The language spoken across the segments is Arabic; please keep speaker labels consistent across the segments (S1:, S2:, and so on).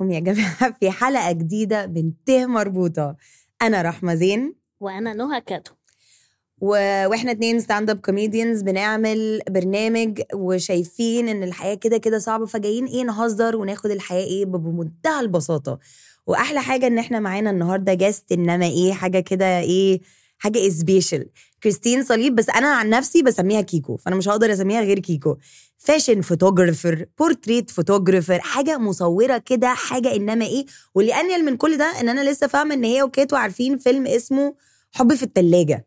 S1: جماعة في حلقة جديدة من ته مربوطة أنا رحمة زين
S2: وانا نهى كاتو
S1: و... واحنا اتنين ستاند اب كوميديانز بنعمل برنامج وشايفين ان الحياه كده كده صعبه فجايين ايه نهزر وناخد الحياه ايه ب- بمنتهى البساطه واحلى حاجه ان احنا معانا النهارده جاست انما ايه حاجه كده ايه حاجه سبيشال كريستين صليب بس انا عن نفسي بسميها كيكو فانا مش هقدر اسميها غير كيكو فاشن فوتوجرافر بورتريت فوتوجرافر حاجه مصوره كده حاجه انما ايه واللي انيل من كل ده ان انا لسه فاهمه ان هي وكاتو عارفين فيلم اسمه حب في التلاجه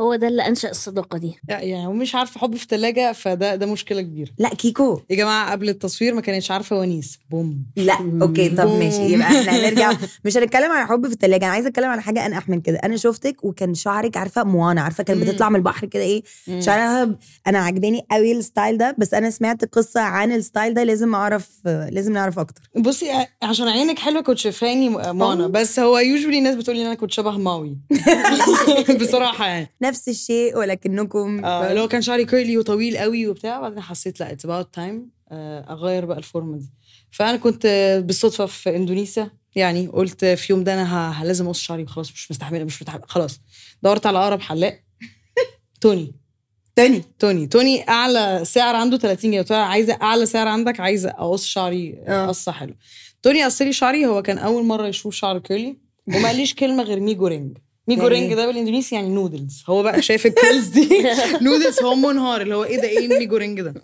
S2: هو ده اللي انشا الصداقه دي
S3: لا يعني ومش عارفه حب في ثلاجه فده ده مشكله كبيره
S1: لا كيكو
S3: يا جماعه قبل التصوير ما كانتش عارفه ونيس بوم
S1: لا اوكي طب
S3: بوم.
S1: ماشي يبقى احنا هنرجع مش هنتكلم عن حب في التلاجة انا عايزه اتكلم عن حاجه انقح من كده انا شفتك وكان شعرك عارفه موانا عارفه كانت
S3: مم.
S1: بتطلع من البحر كده ايه
S3: مم.
S1: شعرها انا عجباني قوي الستايل ده بس انا سمعت قصه عن الستايل ده لازم اعرف لازم نعرف اكتر
S3: بصي ع- عشان عينك حلوه كنت شايفاني م- مانا بس هو يوجولي الناس بتقول لي ان انا كنت شبه ماوي بصراحه يعني
S1: نفس الشيء ولكنكم
S3: آه اللي هو كان شعري كيرلي وطويل قوي وبتاع بعدين حسيت لا اتس اباوت تايم اغير آه، بقى الفورمه دي فانا كنت آه، بالصدفه في اندونيسيا يعني قلت في يوم ده انا ه- لازم اقص شعري خلاص مش مستحمله مش متحمل خلاص دورت على اقرب حلاق توني
S1: تاني
S3: توني توني اعلى سعر عنده 30 جنيه قلت لها عايزه اعلى سعر عندك عايزه اقص شعري
S1: آه.
S3: قصه حلو توني قص لي شعري هو كان اول مره يشوف شعر كيرلي وما قاليش كلمه غير ميجو رينج ميجو
S1: يعني
S3: رينج
S1: إيه؟
S3: ده بالاندونيسي يعني نودلز هو بقى شايف الكيرلز دي نودلز هو منهار اللي هو ايه ده ايه الميجو رينج ده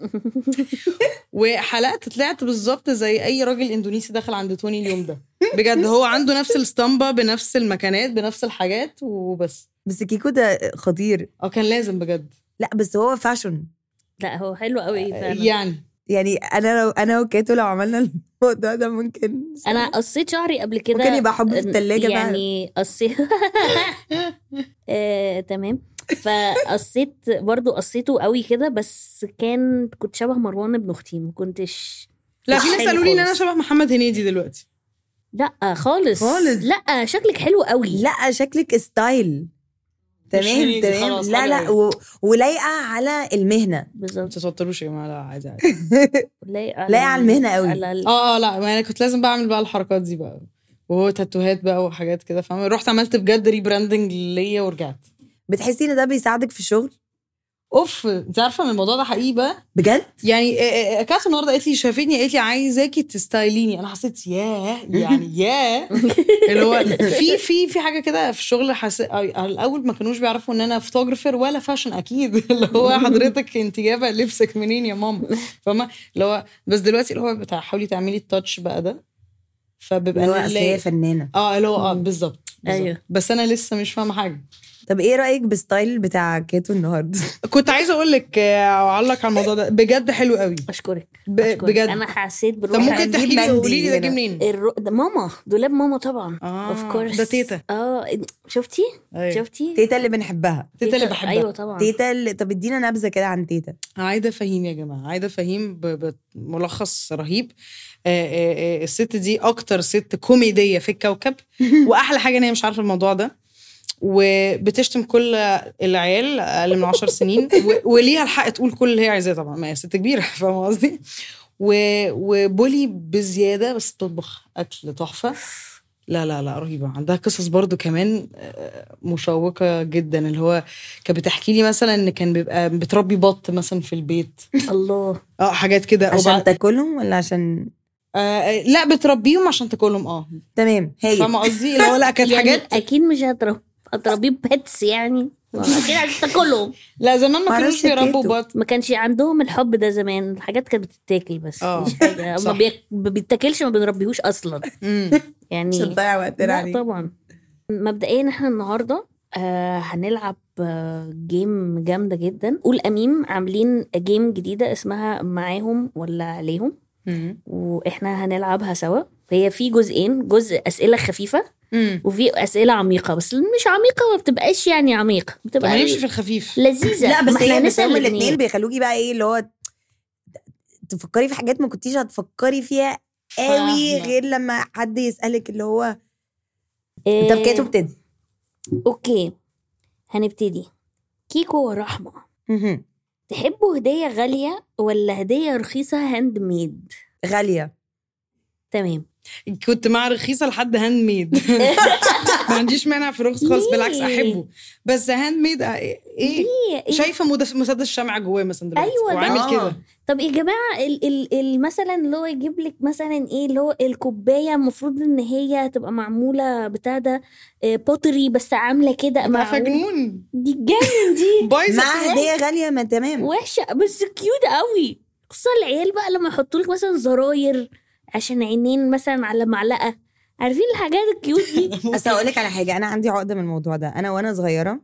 S3: وحلقت طلعت بالظبط زي اي راجل اندونيسي دخل عند توني اليوم ده بجد هو عنده نفس الاسطمبه بنفس المكانات بنفس الحاجات وبس
S1: بس كيكو ده خطير
S3: اه كان لازم بجد
S1: لا بس هو فاشن
S2: لا هو حلو قوي
S1: آه،
S2: فعلا
S3: يعني
S1: يعني انا لو انا وكاتو لو عملنا الموضوع ده ممكن
S2: انا قصيت شعري قبل كده آه،
S1: ممكن يبقى حب في التلاجة بقى.
S2: يعني قصيت آه، تمام فقصيت برضو قصيته قوي كده بس كان كنت شبه مروان ابن اختي ما كنتش
S3: لا
S2: مش
S3: في ناس
S2: حلو
S3: قالوا لي ان انا
S2: خالص.
S3: شبه محمد هنيدي دلوقتي
S2: لا خالص
S1: خالص.
S2: لا شكلك حلو قوي
S1: لا شكلك ستايل تمام
S3: هنيدي
S1: تمام
S3: خلاص،
S1: لا
S3: حلو
S1: لا
S3: أوي.
S1: و... ولايقه على المهنه
S3: ما
S2: بالظبط
S3: تتوتروش يا جماعه لا عادي عادي
S2: لايقه
S1: لايقة على المهنة قوي. آه.
S2: على ال-
S3: اه اه لا ما انا كنت لازم بعمل بقى الحركات دي بقى وهو تاتوهات بقى وحاجات كده فاهمه رحت عملت بجد ريبراندنج ليا ورجعت
S1: بتحسي ان ده بيساعدك في الشغل
S3: اوف انت عارفه ان الموضوع ده حقيقي بقى
S1: بجد
S3: يعني آه، آه، كات النهارده قالت لي شافتني قالت لي عايزاكي تستايليني انا حسيت ياه يعني ياه اللي هو في في في حاجه كده في الشغل حس... آه، الاول ما كانوش بيعرفوا ان انا فوتوجرافر ولا فاشن اكيد اللي هو حضرتك انت جايبه لبسك منين يا ماما فاهمه اللي هو بس دلوقتي اللي هو بتاع حاولي تعملي التاتش بقى ده فبيبقى
S1: اللي هو
S3: أنا
S1: اصل
S3: لايق.
S1: هي فنانه
S3: اه اللي هو اه بالظبط بالظبط.
S2: أيوه.
S3: بس انا لسه مش فاهمه حاجه
S1: طب ايه رايك بالستايل بتاع كاتو النهارده
S3: كنت عايزه اقول لك آه، اعلق على الموضوع ده بجد حلو قوي
S2: اشكرك
S3: ب-
S2: أشكرك.
S3: بجد.
S2: انا حسيت بالروح
S3: طب ممكن
S1: هنجيب
S3: تحكي لي
S1: مندي
S3: قولي لي ده جه
S1: هنا.
S3: منين
S2: الرو... ده ماما دولاب ماما طبعا
S3: آه،
S2: اوف كورس
S3: ده تيتا.
S2: اه شفتي
S3: أيوة.
S2: شفتي
S1: أيوه. تيتا اللي بنحبها
S3: تيتا اللي بحبها
S2: ايوه طبعا
S1: تيتا اللي... طب ادينا نبذه كده عن تيتا
S3: عايده فهيم يا جماعه عايده فهيم ب- بملخص رهيب آه، آه، آه، الست دي اكتر ست كوميديه في الكوكب واحلى حاجه ان هي مش عارفه الموضوع ده وبتشتم كل العيال اقل من 10 سنين و- وليها الحق تقول كل اللي هي عايزاه طبعا ما هي ست كبيره فاهمه قصدي و- وبولي بزياده بس بتطبخ اكل تحفه لا لا لا رهيبه عندها قصص برضو كمان آه، مشوقه جدا اللي هو كانت بتحكي لي مثلا ان كان بيبقى بتربي بط مثلا في البيت
S2: الله
S3: اه حاجات كده
S1: عشان
S3: وبعد-
S1: تاكلهم ولا عشان
S3: آه لا بتربيهم عشان تاكلهم اه
S1: تمام هايل
S3: فاهمه قصدي اللي هو لا كانت
S2: يعني
S3: حاجات
S2: اكيد مش هضرب هتربيه بيتس يعني اكيد هتاكلهم
S3: لا زمان ما
S1: معرفش
S3: كانوش بيربوا
S1: كيتو.
S3: بط
S2: ما كانش عندهم الحب ده زمان الحاجات كانت بتتاكل بس
S3: آه،
S2: مش حاجه
S3: صح.
S2: ما بيك- ما بيتاكلش ما بنربيهوش اصلا
S3: مم.
S2: يعني
S1: مش هتضيع يعني. وقتنا
S3: يعني.
S2: لا
S1: عليه
S2: طبعا مبدئيا احنا النهارده آه هنلعب آه جيم جامده جدا قول اميم عاملين جيم جديده اسمها معاهم ولا عليهم
S3: مم.
S2: واحنا هنلعبها سوا هي في جزئين جزء اسئله خفيفه
S3: مم.
S2: وفي اسئله عميقه بس مش عميقه ما بتبقاش يعني عميقه
S3: طب
S2: بتبقى
S3: هنمشي في الخفيف
S2: لذيذه
S1: لا
S2: ما
S1: بس
S2: إحنا
S1: هي بس
S2: هنسأل
S1: هما
S2: الاتنين.
S1: الاثنين بيخلوكي بقى ايه اللي هو تفكري في حاجات ما كنتيش هتفكري فيها قوي
S3: فاهمة.
S1: غير لما حد يسالك اللي هو طب كاتو
S2: آه،
S1: ابتدي
S2: اوكي هنبتدي كيكو ورحمه
S1: مهم.
S2: تحبوا هديه غاليه ولا هديه رخيصه هاند ميد
S1: غاليه
S2: تمام
S3: كنت مع رخيصه لحد هاند ميد ما عنديش مانع في رخص خالص
S2: ليه؟
S3: بالعكس احبه بس هاند ميد آه، ايه
S2: ليه؟ إيه؟
S3: شايفه مدف- مسدس الشمع جواه مثلا دلوقتي
S2: أيوة ده.
S3: وعامل
S1: آه.
S3: كده
S2: طب يا جماعه ال- ال- ال- مثلا اللي هو يجيب لك مثلا ايه اللي هو الكوبايه المفروض ان هي تبقى معموله بتاع ده آه، بوتري بس عامله كده
S3: عارفه
S2: معقول؟
S3: جنون
S2: دي جنن دي
S3: بايظه
S1: مع
S3: كمان.
S1: هديه غاليه ما تمام
S2: وحشه بس كيوت قوي خصوصا العيال بقى لما يحطوا لك مثلا زراير عشان عينين مثلا على معلقه عارفين الحاجات الكيوت دي
S1: بس هقول لك على حاجه انا عندي عقده من الموضوع ده انا وانا صغيره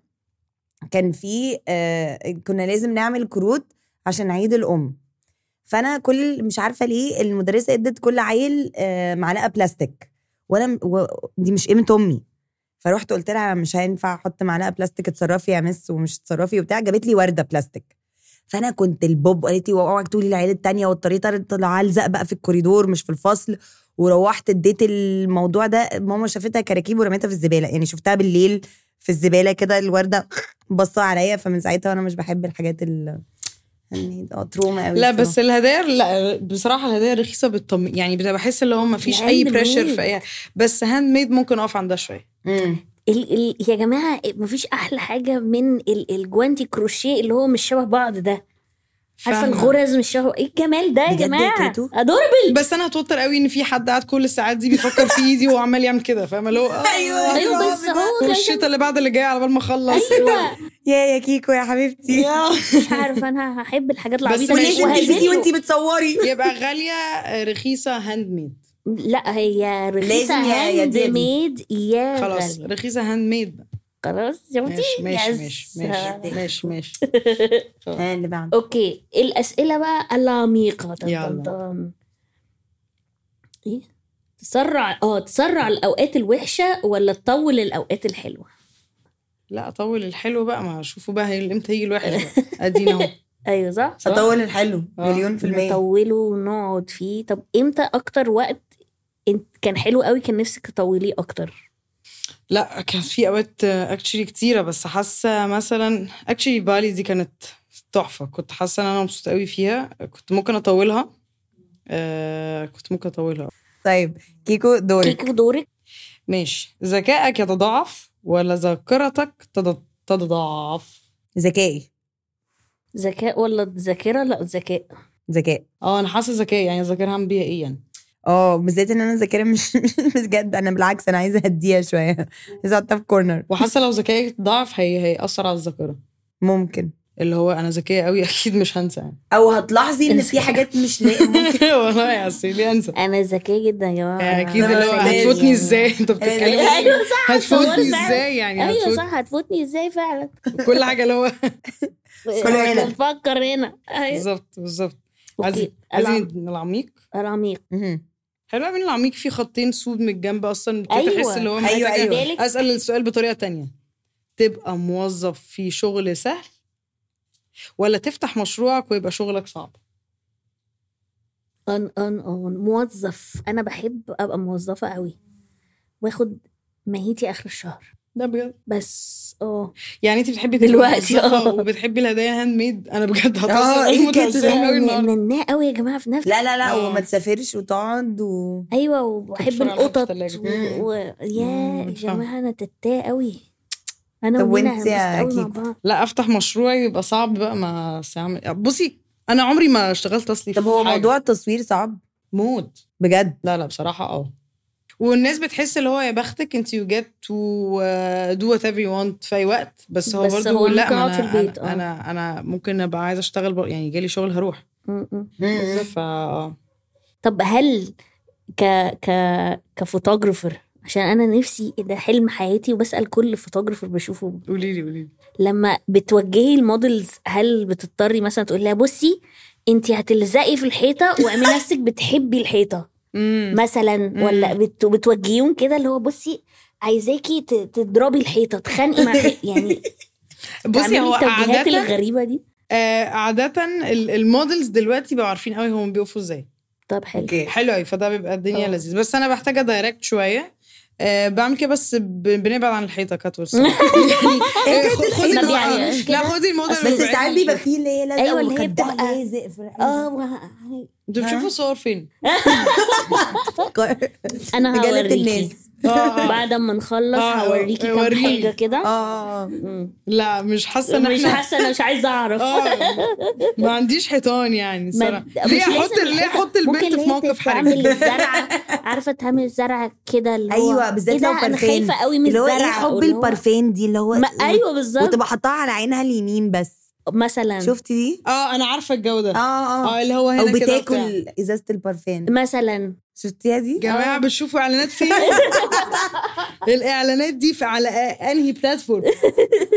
S1: كان في آه كنا لازم نعمل كروت عشان عيد الام فانا كل مش عارفه ليه المدرسه ادت كل عيل آه معلقه بلاستيك وانا م- و... دي مش قيمه امي فروحت قلت لها مش هينفع احط معلقه بلاستيك اتصرفي يا مس ومش اتصرفي وبتاع جابت لي ورده بلاستيك فانا كنت البوب قالت لي اوعك تقولي العيال التانيه والطريقه طالعه الزق بقى في الكوريدور مش في الفصل وروحت اديت الموضوع ده ماما شافتها كراكيب ورميتها في الزباله يعني شفتها بالليل في الزباله كده الورده بصها عليا فمن ساعتها وانا مش بحب الحاجات ال يعني اه تروما قوي
S3: لا بس الهدايا لا بصراحه الهدايا الرخيصه بتطمن يعني بتبقى بحس اللي هو ما فيش اي
S2: الهاند
S3: بريشر
S2: ميد.
S3: في اي بس هاند ميد ممكن اقف عندها شويه
S2: ال ال يا جماعه مفيش احلى حاجه من ال الجوانتي كروشيه اللي هو مش شبه بعض ده عارفه
S3: فاهمة.
S2: الغرز مش شبه ايه الجمال ده يا
S1: بجد يا
S2: جماعه
S1: كريتو؟
S2: ادوربل
S3: بس انا هتوتر قوي ان في حد قاعد كل الساعات دي بيفكر في ايدي وعمال يعمل كده فاهمه اللي هو آه،
S1: ايوه
S2: ايوه بس هو ده
S3: والشتا اللي بعد اللي جاي على بال ما اخلص
S2: ايوه
S1: يا يا كيكو يا حبيبتي
S2: مش عارفه انا هحب الحاجات العبيطه
S3: ماشي.
S1: ونزل
S2: دي
S3: وهزيني.
S1: تلفزي
S2: وهزينه.
S1: وانتي بتصوري
S3: يبقى غاليه آه، رخيصه هاند ميد
S2: لا هي رخيصه
S1: لازم يا- يا
S2: هاند
S1: دي يا دي.
S2: ميد يا
S3: خلاص
S2: غالية.
S3: رخيصه هاند ميد بقى.
S2: خلاص شفتي
S3: ماشي ماشي
S2: يس.
S3: ماشي ماشي ماشي ماشي
S1: ها اللي بعد
S2: اوكي الاسئله بقى العميقه طن-
S3: يلا.
S2: طن- طن. ايه تسرع اه تسرع الاوقات الوحشه ولا تطول الاوقات الحلوه
S3: لا اطول الحلو بقى ما اشوفه بقى هي- امتى هيجي الوحش بقى ادينا اهو
S2: ايوه صح
S3: صح؟
S1: هطول الحلو
S3: آه.
S1: مليون في المية
S2: نطوله ونقعد فيه طب امتى اكتر وقت انت كان حلو قوي كان نفسك تطوليه اكتر
S3: لا كان في اوقات اكشلي كتيره بس حاسه مثلا اكشلي بالي دي كانت تحفه كنت حاسه ان انا مبسوطه قوي فيها كنت ممكن اطولها آه كنت ممكن اطولها
S1: طيب كيكو دورك
S2: كيكو دورك
S3: ماشي ذكائك يتضاعف ولا ذاكرتك تض- تتضاعف
S1: ذكائي
S2: ذكاء ولا ذاكره لا ذكاء
S1: ذكاء
S3: اه انا حاسه ذكاء يعني ذاكرها هعمل بيها ايه يعني
S1: اه بالذات ان انا ذاكرة مش مش بجد انا بالعكس انا عايزه اهديها شويه عايزه احطها في كورنر
S3: وحاسه لو ذكائك ضعف هي هيأثر على الذاكره
S1: ممكن
S3: اللي هو انا ذكيه قوي اكيد مش هنسى يعني
S1: او هتلاحظي ان في حاجات مش لاقي ممكن
S3: والله يا أصل ليه انسى
S2: انا ذكيه جدا يا جماعه
S3: اكيد آه، اللي هو
S1: أنا ذكية
S3: هتفوتني ازاي انت بتتكلم إيه؟
S1: أيوة
S2: ايوه صح
S3: هتفوتني
S2: اتصورت فعلا.
S3: ازاي يعني
S2: ايوه
S3: هتفوت
S2: صح هتفوتني ازاي فعلا
S3: كل حاجه اللي هو
S1: هنا.
S2: احنا بنفكر هنا ايوه
S3: بالظبط بالظبط عايزين
S2: اوكي
S3: عايزين
S2: العم-
S3: العميق
S2: العميق
S1: مهم.
S3: حلو قوي ان العميق فيه خطين سود من الجنب اصلا كنت
S2: أيوة.
S3: احس اللي هو
S1: أيوة،
S3: محتاجة
S1: أيوة.
S2: بالك
S3: اسال السؤال بطريقه تانية تبقى موظف في شغل سهل ولا تفتح مشروعك ويبقى شغلك صعب
S2: ان ان ان موظف انا بحب ابقى موظفه قوي واخد ماهيتي اخر الشهر
S3: ده بجد
S2: بس اه
S3: يعني انت بتحبي تبقي
S2: دلوقتي،
S3: موظفة
S2: آه.
S3: وبتحبي الهدايا هاند ميد انا بجد
S1: آه،
S3: هتأثر
S1: إيه
S3: قوي
S1: كده؟
S3: متأثرين قوي النهارده
S2: مناه قوي يا جماعه في نفسي
S1: لا لا لا
S3: آه.
S1: وما تسافرش وتقعد و
S2: ايوه وبحب
S3: تنشر عليها في
S2: القطط
S3: التلاجة.
S2: و...
S1: مم.
S2: و... يا
S3: مم،
S2: يا
S3: فاهمة.
S2: جماعه انا تتاه قوي انا
S1: طب
S2: ومنى
S1: وانت يا
S2: هنبسط قوي مع
S1: كيكو؟
S2: بعض
S3: لا افتح مشروعي يبقى صعب بقى ما سيعمل بصي انا عمري ما اشتغلت اصلي
S1: طب
S3: في
S1: هو
S3: حاجة.
S1: موضوع التصوير صعب
S3: موت
S1: بجد
S3: لا لا بصراحه اه والناس بتحس اللي هو يا بختك انت يو جيت تو دو وات ايفر يو وانت في اي وقت بس هو
S2: بس
S3: برضه
S2: هو
S3: لا
S2: ممكن
S3: ما
S2: أقعد
S3: انا
S2: في البيت،
S3: انا,
S2: آه.
S3: أنا, أنا ممكن ابقى عايزه اشتغل بر... يعني جالي شغل هروح
S2: مم، مم.
S1: مم.
S3: ف آه.
S2: طب هل ك ك كفوتوغرافر عشان انا نفسي ده حلم حياتي وبسال كل فوتوغرافر بشوفه
S3: قولي لي قولي لي
S2: لما بتوجهي المودلز هل بتضطري مثلا تقول لها بصي انت هتلزقي في الحيطه واعملي نفسك بتحبي الحيطه
S3: مم.
S2: مثلا ولا بت بتوجهيهم كده اللي هو بصي عايزاكي ت- تضربي الحيطه تخانقي مع الحيطة. يعني
S3: بصي
S2: تعملي
S3: هو
S2: التوجيهات
S3: عاده
S2: الغريبه دي
S3: آه عاده ال- المودلز دلوقتي بقوا عارفين قوي هم بيقفوا ازاي
S2: طب حلو
S1: اوكي
S3: حلو قوي فده بيبقى الدنيا
S2: آه.
S3: لذيذ بس انا بحتاجه دايركت شويه آه، بعمل كده بس ب- بنبعد عن الحيطه كات والصراحة. يعني
S1: هي
S3: آه،
S1: كانت
S3: خ- خدي
S1: الحيطة.
S2: يعني
S3: الموضوع
S2: مش
S3: لا
S2: كده.
S3: خدي الموضوع
S1: بس ساعات بيبقى فيه اللي هي آه. لازقه
S2: أيوة، اللي هي
S1: ومخدعة
S2: بتبقى-
S1: لازق في
S2: اه
S1: الحيطة.
S2: وه-
S3: انتوا بتشوفوا الصور فين؟
S2: انا
S1: مجلة
S2: هوريكي
S1: الناس
S3: آه، آه.
S2: بعد ما نخلص
S3: آه،
S2: هوريكي كام
S3: وريني. آه،
S2: حاجه كده
S1: اه
S2: مم.
S3: لا مش حاسه ان
S2: مش
S3: احنا
S2: حاسه انا مش عايزه اعرف
S3: آه، ما عنديش حيطان يعني الصراحه
S2: مش
S3: ليه
S2: لازم
S3: احط ليه
S2: الحيطة.
S3: احط البنت
S2: ممكن
S3: في
S2: هي
S3: موقف
S2: تعمل
S3: حرج
S2: الزرعه عارفه تعمل زرعه كده اللي هو
S1: ايوه بالذات
S2: إيه ده؟
S1: لو
S2: انا
S1: بارفان
S2: خايفه قوي من
S1: اللي هو ايه
S2: الزرعه
S1: حب
S2: واللي هو-
S1: البارفان دي اللي هو
S2: ما ايوه بالظبط
S1: وتبقى حاطاها على عينها اليمين بس
S2: مثلا
S1: شفتي دي؟
S3: اه انا عارفه الجو
S1: اه
S2: آه.
S3: ده
S1: اه
S3: اه اللي
S1: او
S3: هو هنا كده بتاع.
S1: بتاكل ازازه البارفان
S2: مثلا
S1: شفتيها دي؟
S2: آه.
S3: جماعه بتشوفوا اعلانات فين الاعلانات دي في على آه، انهي بلاتفورم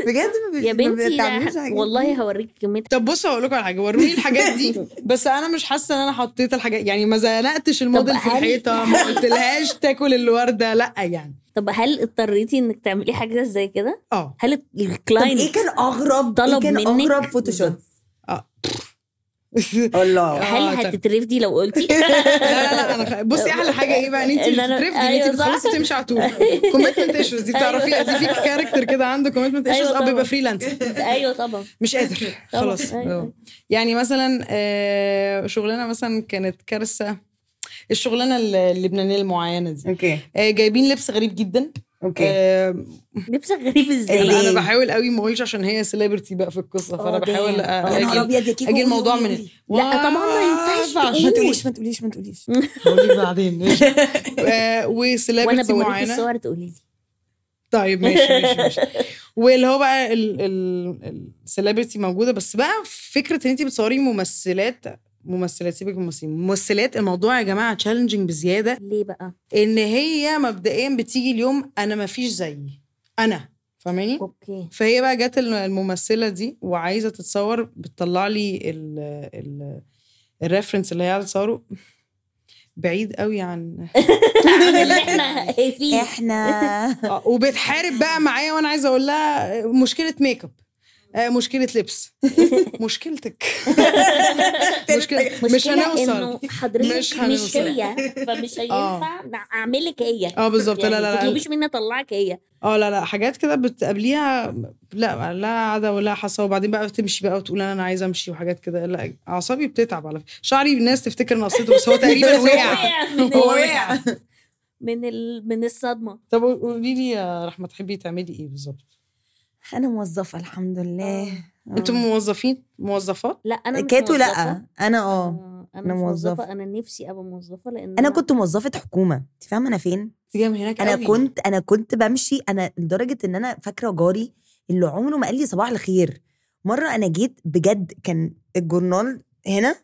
S1: بجد ما بي-
S2: يا
S1: ما
S2: بنتي
S1: بتعملوش
S2: لا،
S1: حاجة.
S2: والله هوريك كميه
S3: طب بص هقول لكم على حاجه وروني الحاجات دي بس انا مش حاسه ان انا حطيت الحاجات يعني ما زنقتش الموديل في
S2: هل-
S3: الحيطه ما قلتلهاش تاكل الورده لا يعني
S2: طب هل اضطريتي انك تعملي حاجه زي كده؟
S3: اه
S2: هل
S1: طب ايه
S2: الكلاينت
S1: كان اغرب
S2: طلب
S1: ايه كان
S2: منك؟
S1: اغرب فوتوشوب؟
S3: اه
S1: الله
S2: هل
S3: آه، طب.
S2: هتترفدي لو قلتي؟
S3: لا لا لا انا خ... بصي احلى حاجه ايه بقى ان انت
S2: إن أنا-
S3: بتترفدي ان
S2: أيوة
S3: انت
S2: صح. أيوة.
S3: بتخلصي تمشي على طول كوميتمنت ايشوز دي بتعرفيها دي في كاركتر كده عنده كوميتمنت
S2: أيوة
S3: ايشوز اه
S2: طبعاً.
S3: بيبقى فريلانسر
S2: ايوه طبعا
S3: مش قادر
S2: طبعاً،
S3: خلاص
S2: أيوة.
S3: آه. يعني مثلا آه، شغلانه مثلا كانت كارثه الشغلانه اللبنانيه المعينه دي
S1: اوكي
S3: آه، جايبين لبس غريب جدا آه،
S2: لبسك غريب ازاي؟
S1: إزاي؟
S3: انا بحاول قوي ما اقولش عشان هي سيلبرتي بقى في القصه فانا
S2: إيه. آه،
S3: بحاول
S2: damn. آه،
S1: يا نهار
S3: أجل-
S1: ابيض يا كيكو
S3: اجي الموضوع
S1: قولي-
S3: من
S1: قولي.
S2: لا، طبعاً ما ينفعش
S1: ما
S2: تقول.
S1: تقوليش ما تقوليش ما تقوليش
S3: قولي بعدين آه،
S2: وانا
S3: وسيلبرتي
S2: بوريكي
S3: معينه
S2: الصور تقولي لي
S3: طيب ماشي ماشي ماشي واللي هو بقى السليبرتي موجوده بس بقى فكره ان انت بتصوري ممثلات ممثلات سيبك من الممثلين ممثلات الموضوع يا جماعه تشالنجينج بزياده
S2: ليه بقى؟
S3: ان هي مبدئيا بتيجي اليوم انا ما فيش زيي انا فاهماني
S2: اوكي
S3: فهي بقى جت الم- الممثله دي وعايزه تتصور بتطلع لي ال ال الريفرنس اللي هي عايزه تصوره بعيد قوي عن
S2: عن اللي احنا فيه
S1: احنا
S3: آه، وبتحارب بقى معايا وانا عايزه اقول لها آه، مشكله ميك اب آه، مشكله لبس مشكلتك مشكلة مش هنوصل
S2: انه حضرتك
S3: مش
S2: مش,
S3: هنوصل.
S2: هي فمش هينفع اعملك هي
S3: اه بالظبط لا
S2: يعني
S3: لا
S2: ما
S3: لا
S2: تطلبيش مني اطلعك هي
S3: اه لا لا حاجات كده بتقابليها لا لا عدا ولا حصى وبعدين بقى بتمشي بقى وتقول انا عايزه امشي وحاجات كده لا اعصابي بتتعب على فكره شعري الناس تفتكر نقصته بس هو تقريبا وقع
S2: من
S3: هو
S2: ال-
S3: وقع
S2: من ال- من الصدمه
S3: طب قولي لي يا رحمه تحبي تعملي ايه بالظبط؟
S1: انا موظفه الحمد لله آه.
S3: انتم موظفين موظفات؟
S2: لا انا مش
S1: كاتو
S2: موظفة.
S1: لا انا اه
S2: آه،
S1: أنا
S2: انا مش موظفه
S1: موظفة.
S2: انا نفسي ابقى موظفه لان
S1: انا كنت موظفه حكومه انت فاهمه انا فين
S3: انت جايه من هناك
S1: انا
S3: قوي.
S2: أيوه.
S1: كنت انا كنت بمشي انا لدرجه ان انا فاكره جاري اللي عمره ما قال لي صباح الخير مره انا جيت بجد كان الجورنال هنا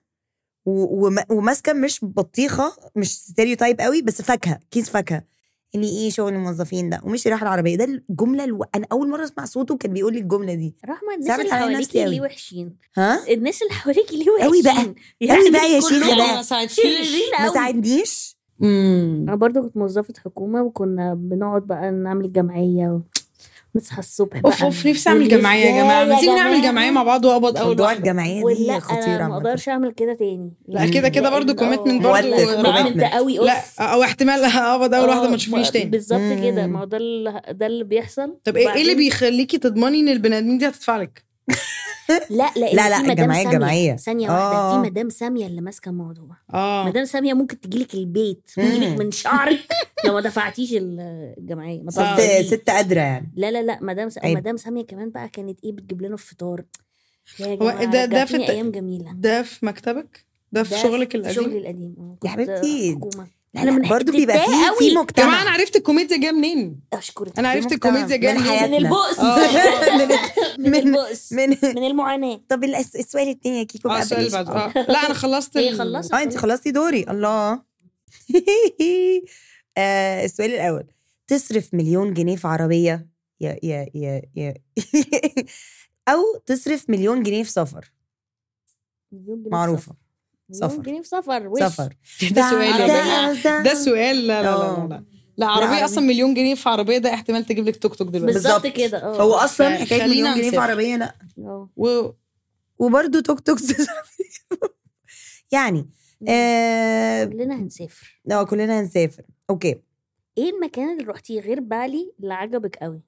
S1: و- وما- وماسكه مش بطيخه مش ستيريوتايب قوي بس فاكهه كيس فاكهه اللي ايه شغل الموظفين ده ومش رايح العربيه ده الجمله الو... انا اول مره اسمع صوته كان بيقول لي الجمله دي
S2: رحمه الناس
S1: صعبت
S2: اللي
S1: عليا نفسي
S2: حواليكي
S1: أوي.
S2: ليه وحشين
S1: ها
S2: الناس اللي حواليكي ليه وحشين
S1: أوي بقى.
S2: يعني
S1: أوي بقى يا
S2: كلهم
S1: شيخة بقى.
S3: ما ساعدتيش
S2: شريرين
S1: ما
S2: قوي
S1: ساعدنيش
S2: انا برضو كنت موظفه حكومه وكنا بنقعد بقى نعمل جمعيه و... نصحى الصبح بقى
S3: اوف اوف نفسي اعمل
S2: واللي
S3: جمعيه يا
S2: إزاي
S3: جماعه
S2: يا
S3: ما تيجي نعمل
S2: جماعة؟
S3: جمعيه مع بعض واقبض اول
S1: موضوع
S3: واحده
S1: الجمعيه
S2: ولا
S1: دي خطيره
S2: أنا ما
S1: عامة.
S2: اقدرش اعمل كده تاني يعني
S3: لا كده كده برضو commitment برضو
S2: كوميتمنت
S1: commitment.
S2: قوي
S3: لا
S2: اوف
S3: او احتمال اقبض اول واحده
S2: آه،
S3: ما تشوفنيش تاني
S2: بالظبط كده
S1: مم.
S2: ما هو ده اللي ده اللي بيحصل
S3: طب ايه ايه اللي
S2: وبعدين-
S3: بيخليكي تضمني ان البني ادمين دي هتدفع لك؟
S2: لا لا
S1: لا، لا،
S2: في مدام
S1: الجمعية
S2: سامية.
S1: الجمعية.
S2: ثانيه
S1: آه.
S2: واحده في مدام ساميه اللي ماسكه الموضوع
S3: اه
S2: مدام ساميه ممكن تجيلك البيت
S1: مم.
S2: تجيلك من شعرك لو ما دفعتيش الجمعيه ما
S3: ست-
S2: تهزريش.
S1: ست ست قادره يعني
S2: لا لا لا مدام س...
S1: أيوة.
S2: مدام ساميه كمان بقى كانت ايه بتجيب لنا الفطار يا
S3: هو
S2: جماعه
S3: ده- ده
S2: ده ده
S3: في الت-
S2: ايام جميله
S3: ده في مكتبك؟ ده في
S2: ده
S3: شغلك
S2: في
S3: القديم؟
S2: شغلي
S3: يا
S2: القديم آه،
S1: يا
S2: كنت
S1: حبيبتي.
S2: حكومة.
S1: لا،
S2: أنا
S1: لا
S2: من-
S1: برضه بيبقى في
S2: بتتضايق
S1: في
S2: قوي.
S1: مجتمع
S3: جماعه انا عرفت الكوميديا جايه منين؟
S2: اشكرك
S3: انا عرفت
S1: مجتمع.
S3: الكوميديا جايه
S1: من
S3: منين؟
S1: حياتنا.
S2: من البؤس
S3: آه.
S2: من
S1: من-
S2: البؤس
S1: من
S2: من المعاناه
S1: طب الأس- السؤال التاني يا كيكو
S3: اه
S1: بقى
S3: السؤال اللي
S1: بلاش.
S3: بعده
S1: اه
S3: آه. لا انا خلصت
S2: هي
S3: ال-
S2: إيه، خلصت.
S1: آه، انت خلصتي دوري الله آه، السؤال الاول تصرف مليون جنيه في عربيه يا يا يا يا او تصرف مليون جنيه في سفر
S2: مليون جنيه في
S1: معروفه
S2: سفر.
S1: سفر.
S2: مليون جنيه في سفر وش.
S1: سفر
S3: ده سؤال يا جماعه ده سؤال لا لا لا
S1: آه.
S3: لا لا لا عربيه
S1: عربية.
S3: اصلا مليون جنيه في عربيه ده احتمال تجيب لك توك توك دلوقتي
S2: بالظبط
S1: بالظبط.
S2: كده اه
S1: هو اصلا حكايه
S3: خلينا
S1: مليون جنيه في
S3: نسافر.
S1: عربيه لا
S2: آه.
S3: و...
S1: وبرده توك توك يعني آه،
S2: كلنا هنسافر
S1: آه، اه كلنا هنسافر اوكي
S2: ايه المكان اللي رحتيه غير بالي اللي عجبك قوي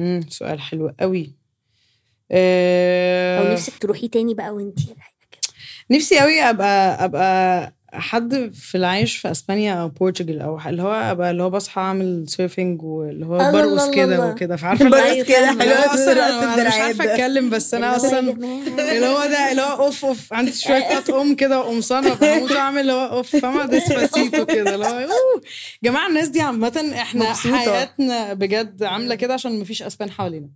S3: امم سؤال حلو قوي آه،
S2: او نفسك تروحيه تاني بقى وانتي رايقة كده؟
S3: نفسي قوي ابقى ابقى حد في العايش في اسبانيا او بورتوجال او ح- اللي هو ابقى اللي هو بصحى اعمل سيرفنج واللي هو
S2: الله
S3: برقص
S2: الله
S3: كده
S2: الله.
S3: وكده فعارفه
S2: برقص
S3: اللي هو-
S2: كده،
S3: اللي
S2: حلوة
S3: هو اصلا طيب، أنا- انا مش
S1: الدراعات
S3: عارفه
S1: ده.
S3: اتكلم بس انا
S2: اللي هو يا
S3: اصلا
S2: جماعة.
S3: اللي هو ده اللي هو اوف اوف عندي شويه قطع ام كده وقمصانه فهموت اعمل اللي هو اوف فاهمه ديسباسيتو كده اللي هو أوه. جماعه الناس دي عامه احنا
S1: مبسوطة.
S3: حياتنا بجد عامله كده عشان مفيش اسبان حوالينا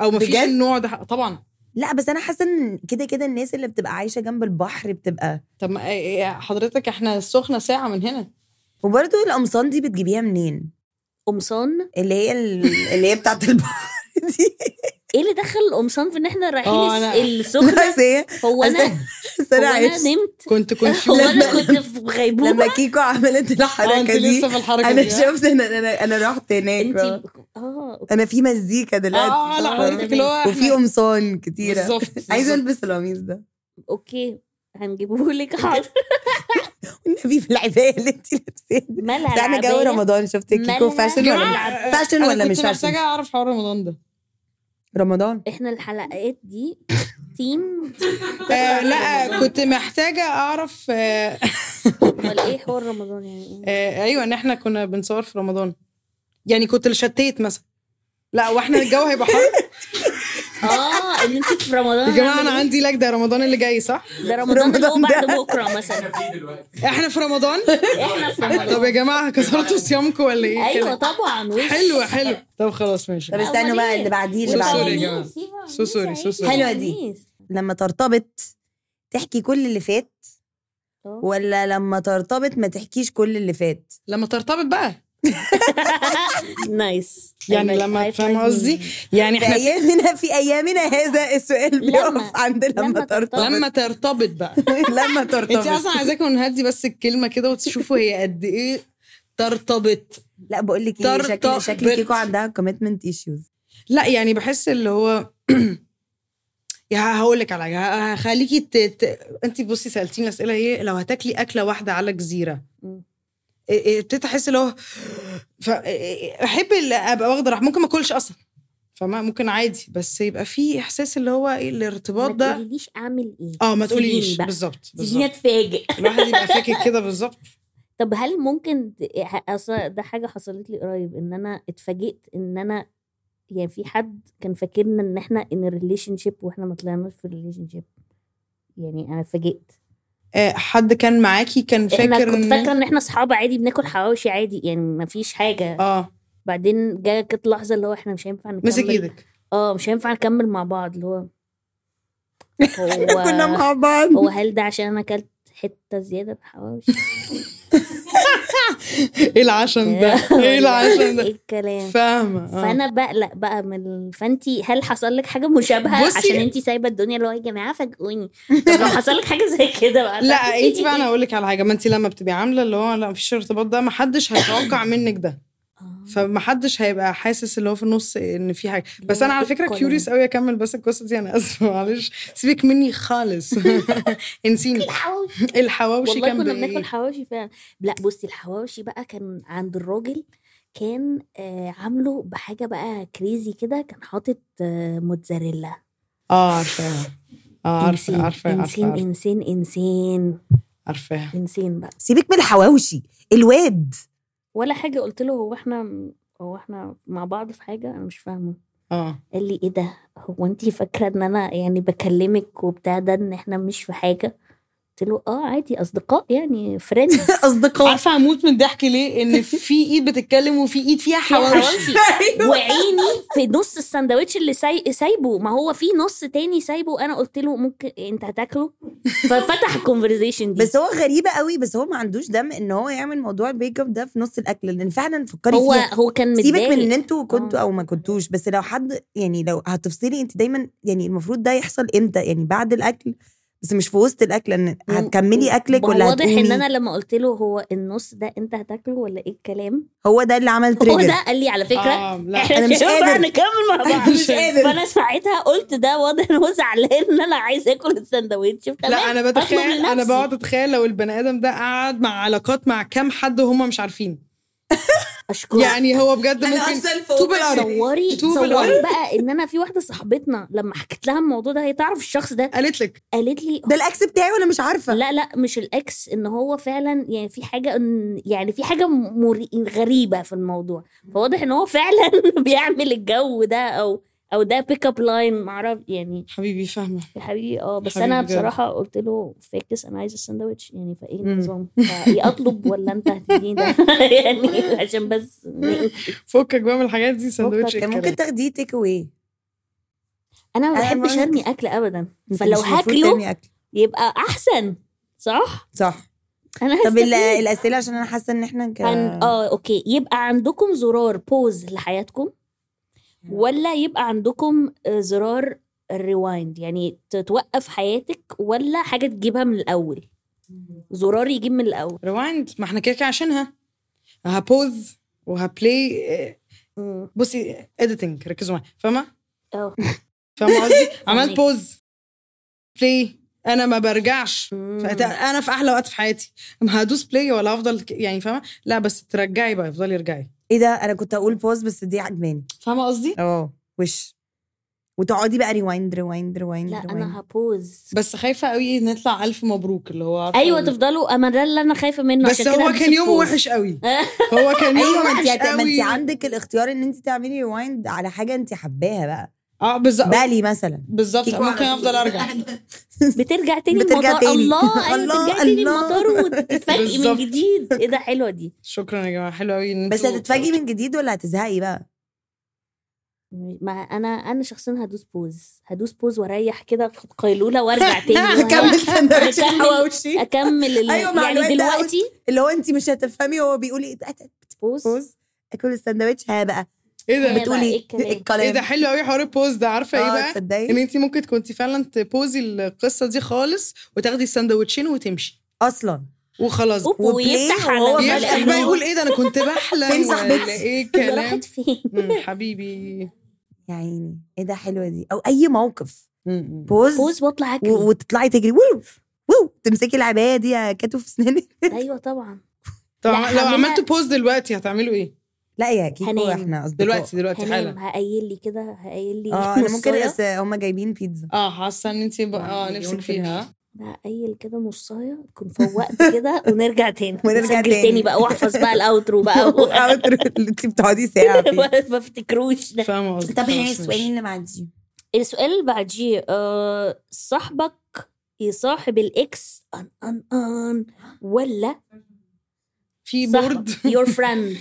S3: او مفيش
S1: بجد؟
S3: النوع ده طبعا
S1: لا بس انا حاسه ان كده كده الناس اللي بتبقى عايشه جنب البحر بتبقى
S3: طب ما إيه- إيه حضرتك احنا السخنه ساعه من هنا
S1: وبرده القمصان دي بتجيبيها منين
S2: قمصان
S1: اللي هي ال- اللي هي بتاعت البحر دي
S2: ايه اللي دخل القمصان في ان احنا
S3: آه،
S2: رايحين
S3: أنا-
S2: الس- السخنه
S1: بس هي
S2: هو انا هو
S1: بس انا
S2: انا
S1: عايش
S2: نمت
S3: كنت آه،
S2: هو
S3: كونفيوز
S2: انا كنت في غيبوبه
S1: لما كيكو عملت
S3: انت
S1: الحركه دي
S3: آه، لسه في الحركه
S1: انا
S3: دي
S1: شفت ان انا انا رحت هناك بقى.
S2: انتي اه أوكي.
S1: انا في مزيكا دلوقتي
S3: اه على حضرتك اللي هو
S1: آه، وفي قمصان كتيره
S3: بالظبط
S1: عايزه البس القميص ده
S2: اوكي هنجيبه لك حاضر
S1: والنبي في العبايه اللي انت لابساها
S2: مالها
S1: ده انا جو
S2: العباية؟
S1: رمضان شفت كيكو
S2: مالها؟
S1: فاشن ولا
S2: جماعة،
S1: مش فاشن ولا مش
S3: فاشن
S1: فاشن
S3: محتاجه اعرف حوار رمضان ده
S1: رمضان
S2: احنا الحلقات دي تيم
S3: آه لا كنت محتاجه اعرف آه
S2: امال ايه حوار رمضان يعني إيه؟
S3: آه ايوه ان احنا كنا بنصور في رمضان يعني كنت اللي شتيت مثلا لا واحنا الجو هيبقى حر
S2: اه ان انت في رمضان
S3: يا جماعه انا
S2: هعمل
S3: عندي لجده رمضان اللي جاي صح
S2: إيه؟ ده رمضان اللي هو
S1: رمضان
S2: بعد
S1: ده.
S2: بكره مثلا
S3: احنا في رمضان
S2: احنا في
S3: طب
S2: رمضان
S3: يا جماعه كسرتوا صيامكم ولا ايه
S2: ايوه
S3: كده؟
S2: طبعا وش
S3: حلو حلو طب خلاص ماشي
S1: طب استنوا بقى
S2: أمال
S1: اللي
S2: إيه؟
S1: بعديه اللي
S3: سوري
S1: بعديه
S3: يا جماعة. سو سوري، سو سوري.
S1: حلوة دي. لما ترتبط تحكي كل اللي فات
S2: آه.
S1: ولا لما ترتبط ما تحكيش كل اللي فات
S3: لما ترتبط بقى
S2: نايس
S3: يعني
S2: I like-
S3: لما
S2: I
S3: فاهم
S2: like
S3: قصدي
S2: me.
S3: يعني
S1: في
S3: احنا
S1: ايامنا في ايامنا هذا السؤال
S2: لما-
S1: بيقف عند لما
S2: لما
S1: ترتبط
S3: لما ترتبط بقى
S1: لما
S3: انت
S1: ترتبط
S3: اصلا عايزاكم نهدي بس الكلمه كده وتشوفوا هي قد ايه ترتبط
S1: لا بقول لك ايه شكل
S3: ترتبط.
S1: شكل كيكو عندها كوميتمنت ايشوز
S3: لا يعني بحس اللي هو يا هقول لك على حاجة، هخليكي ت... ت... انت بصي سالتيني اسئله ايه لو هتاكلي اكله واحده على جزيره
S2: مم.
S3: إيه- إيه، ابتديت احس اللي هو ف... إيه- احب اللي ابقى واخده راحه ممكن ما اكلش اصلا فما ممكن عادي بس يبقى في احساس اللي هو ايه الارتباط
S2: ما
S3: ده
S2: تقوليليش اعمل ايه
S3: اه ما
S2: سيبيني
S3: تقوليش
S2: بقى.
S3: بالظبط
S2: سيبيني
S3: بالظبط
S2: اتفاجئ
S3: الواحد يبقى فاكر كده بالظبط
S2: طب هل ممكن ت- أصل ده حاجه حصلت لي قريب ان انا اتفاجئت ان انا يعني في حد كان فاكرنا ان احنا ان ريليشن شيب واحنا ما طلعناش في ريليشن شيب يعني انا اتفاجئت
S3: آه، حد كان معاكي كان
S2: احنا
S3: فاكر
S2: كنت
S3: ان
S2: فاكره ان احنا اصحاب عادي بناكل حواوشي عادي يعني ما فيش حاجه
S3: اه
S2: بعدين جت لحظه اللي هو احنا مش هينفع نكمل
S3: مسك ايدك
S2: اه مش هينفع نكمل مع بعض اللي هو
S1: كنا
S2: هو
S1: مع بعض
S2: هو هل ده عشان انا اكلت حته زياده بحواوشي
S3: ايه العشم ده ايه العشم
S2: ايه
S3: ده
S2: الكلام
S3: فاهمه آه.
S2: فانا بقلق بقى من فانتي هل حصل لك حاجه مشابهه
S3: بصي-
S2: عشان انتي سايبه الدنيا اللي هو يا جماعه فاجئوني طب لو حصل لك حاجه زي كده بقى إيه،
S3: لا إيه، انت بقى انا اقول لك على حاجه ما انت لما بتبقي عامله اللي هو لا مفيش ارتباط ده محدش هيتوقع منك ده
S2: آه.
S3: فمحدش هيبقى حاسس اللي هو في النص ان في حاجه بس انا على فكره
S2: إيه
S3: كيوريوس قوي اكمل بس القصه دي انا اسفه معلش سيبك مني خالص انسيني
S2: إيه الحواوشي
S3: الحواوشي
S2: والله
S3: كان إيه؟
S2: كنا
S3: بإيه؟
S2: بناكل حواوشي فعلا لا بصي الحواوشي بقى كان عند الراجل كان آه عامله بحاجه بقى كريزي كده كان حاطط آه موتزاريلا
S3: اه عارفاها اه عارفه
S2: إنسان،
S3: عارفه
S2: انسان
S3: عارفه
S2: انسان انسان
S3: عارفاها
S2: انسان بقى
S1: سيبك من الحواوشي الواد
S2: ولا حاجه قلت له هو احنا هو احنا مع بعض في حاجه انا مش فاهمه
S3: اه
S2: قال لي ايه ده هو انت فاكره ان انا يعني بكلمك وبتاع ده ان احنا مش في حاجه قلت له اه عادي اصدقاء يعني فريندز
S1: اصدقاء
S3: عارفه هموت من الضحك ليه ان في ايد بتتكلم وفي ايد فيها حواوشي
S1: أيوه.
S2: وعيني في نص السندوتش اللي ساي... سايبه ما هو في نص تاني سايبه انا قلت له ممكن انت هتاكله ففتح الكونفرزيشن دي
S1: بس هو غريبة قوي بس هو ما عندوش دم ان هو يعمل موضوع البيك اب ده في نص الاكل لان فعلا فكري
S2: هو
S1: فيها
S2: هو كان متضايق
S1: سيبك من ان انتوا كنتوا
S2: آه.
S1: او ما كنتوش بس لو حد يعني لو هتفصلي انت دايما يعني المفروض ده يحصل امتى يعني بعد الاكل بس مش في وسط الاكل ان هتكملي اكلك
S2: ما هو
S1: ولا
S2: واضح ان
S1: هتقومي؟
S2: انا لما قلت له هو النص ده انت هتاكله ولا ايه الكلام
S1: هو ده اللي عمل
S2: هو
S1: تريجر
S2: ده قال لي على فكره
S3: آه، لا
S2: احنا
S1: أنا مش
S2: مش هينفع
S1: قادر.
S2: نكمل مع بعض
S3: مش قادر.
S2: فانا ساعتها قلت ده واضح ان هو زعلان ان انا عايز اكل السندوتش
S3: لا
S2: تمام
S3: انا
S2: أطلب
S3: بتخيل
S2: لنفسي.
S3: انا بقعد اتخيل لو البني ادم ده قعد مع علاقات مع كام حد وهم مش عارفين
S2: اشكرك
S3: يعني هو بجد ممكن
S1: اصلا
S3: طوب الأرض.
S2: تصوري
S3: طوب
S2: تصوري
S3: الأرض.
S2: بقى ان انا في واحده صاحبتنا لما حكيت لها الموضوع ده هي تعرف الشخص ده
S3: قالت لك
S2: قالت لي
S1: ده الاكس بتاعي وانا مش عارفه
S2: لا لا مش الاكس ان هو فعلا يعني في حاجه إن- يعني في حاجه مري... غريبه في الموضوع فواضح ان هو فعلا بيعمل الجو ده او او ده بيك اب لاين معرف يعني
S3: حبيبي فاهمه
S2: يا حبيبي اه بس
S3: حبيبي
S2: انا
S3: بجد.
S2: بصراحه قلت له فاكس انا عايزه الساندوتش يعني فايه
S3: مم.
S2: النظام ايه اطلب ولا انت هتديني ده يعني عشان بس نقفل.
S3: فكك بقى من الحاجات دي سندوتش
S2: فكك.
S1: كان ممكن تاخديه تيك اواي
S2: انا ما
S1: أنا
S2: بحبش
S1: برضه-
S2: ارمي اكل ابدا
S1: أنت
S2: فلو
S1: مش المفروض
S2: هاكله
S1: ترمي أكل.
S2: يبقى احسن صح
S1: صح
S2: انا
S1: طب ال- آه.
S2: هستفيد.
S1: الاسئله عشان انا حاسه ان احنا ك...
S2: عن... اه اوكي يبقى عندكم زرار بوز لحياتكم ولا يبقى عندكم آه، زرار الريوايند يعني ت- توقف حياتك ولا حاجه تجيبها من الاول زرار يجيب من الاول
S3: ريوايند ما احنا كده كده عشانها هبوز وهبلاي بصي اديتنج ركزوا معايا فاهمه؟
S2: اه
S3: فاهمه قصدي؟ عملت
S2: فاهمك.
S3: بوز بلاي انا ما برجعش فأت- انا في احلى وقت في حياتي ما هدوس بلاي ولا هفضل ك- يعني فاهمه؟ لا بس ترجعي بقى افضلي ارجعي
S1: ايه ده انا كنت اقول بوز بس دي عجباني
S3: فاهمه قصدي؟
S1: اه وش وتقعدي بقى ريوايند ريوايند ريوايند
S2: لا
S1: ريوايند
S2: انا هبوز
S3: بس خايفه قوي نطلع الف مبروك اللي هو عارفة
S2: ايوه
S1: أيوة،
S3: ال-
S2: تفضلوا اما ده اللي انا خايفه منه
S3: بس
S2: عشان كده
S3: هو
S2: هدوس
S3: كان يومه
S2: البوز.
S3: وحش قوي هو كان يومه
S1: ايوه ما انت
S3: وحش
S1: هت- ما انت
S3: قوي
S1: عندك الاختيار ان انت تعملي ريوايند على حاجه انت حباها بقى
S3: اه بالظبط
S1: بالي مثلا
S3: بالظبط
S1: كيكو
S3: ممكن
S1: على-
S3: افضل ارجع
S2: بترجع تاني
S1: بترجع
S2: المطار
S1: تاني.
S2: الله
S1: الله،
S2: ايوه بترجع تاني
S1: الله.
S2: المطار وتتفاجئي من
S3: بالظبط.
S2: جديد ايه ده حلوه دي
S3: شكرا يا جماعه حلو قوي ان
S1: بس
S3: انتوا-
S1: هتتفاجئي من جديد ولا هتزهقي بقى
S2: ما انا انا شخصيا هدوس بوز هدوس بوز واريح كده اخد قيلوله وارجع تاني
S1: هكمل سندوتش
S2: هكمل-
S1: الحواوشي
S2: اكمل ال...
S1: أيوة، مع
S2: يعني
S1: الواد ده
S2: دلوقتي
S1: اللي هو انت مش هتفهمي هو بيقول ايه
S2: بوز
S1: بوز اكل السندوتش ها بقى
S3: ايه ده
S2: بقى
S1: بتقولي
S2: إيه
S1: إيه
S2: الكلام؟
S1: الكلام
S3: ايه ده حلو قوي حوار البوز ده عارفه ايه
S1: اه
S3: بقى
S1: تصدقي
S3: ان انت ممكن كنتي فعلا تبوزي القصه دي خالص وتاخدي السندوتشين وتمشي
S1: اصلا
S3: وخلاص
S2: أوف،
S1: وبلاي
S2: ويفتح
S1: وهو
S2: على
S1: بيفتح إيه
S3: يفتح
S2: لأنه-
S3: بقى يقول ايه ده انا كنت
S1: فين
S3: بحلم ولا
S1: صاحبتي؟
S3: ايه
S2: هي
S3: الكلام
S2: راحت فين
S3: مم، حبيبي
S1: يا عيني ايه ده حلوه دي او اي موقف
S3: مم.
S1: بوز,
S2: بوز واطلع اجري
S1: و- وتطلعي تجري وو وو تمسكي العبايه دي يا كاتو في سنانك
S2: ايوه طبعا
S3: طب
S2: لا،
S3: عم- لو
S2: هعملها-
S3: عملتوا بوز دلوقتي هتعملوا ايه؟
S1: لا يا كيكو
S2: هنام.
S1: احنا اصدقاء
S3: دلوقتي دلوقتي
S2: هنام
S3: حالا
S2: هقايل لي كده هقايل لي
S1: اه انا ممكن
S2: نصاية.
S1: بس هم جايبين بيتزا
S3: اه حاسه ان انت بقى اه
S1: مليون
S3: نفسك
S1: في المية.
S3: فيها
S2: هقايل كده نصايه اكون فوقت كده ونرجع تاني
S1: ونرجع
S2: نسجل
S1: تاني.
S2: تاني بقى واحفظ بقى الاوترو بقى و-
S1: اوترو اللي انت بتقعدي ساعه فيه
S2: ما افتكروش ده
S3: فاهمه قصدي
S1: طب هنا
S3: خلاص،
S1: السؤال
S3: ماشي.
S1: اللي معدي
S2: السؤال اللي بعديه آه، صاحبك يصاحب الاكس ان ان ان ولا
S3: في
S2: صاحبك
S3: بورد
S2: your friend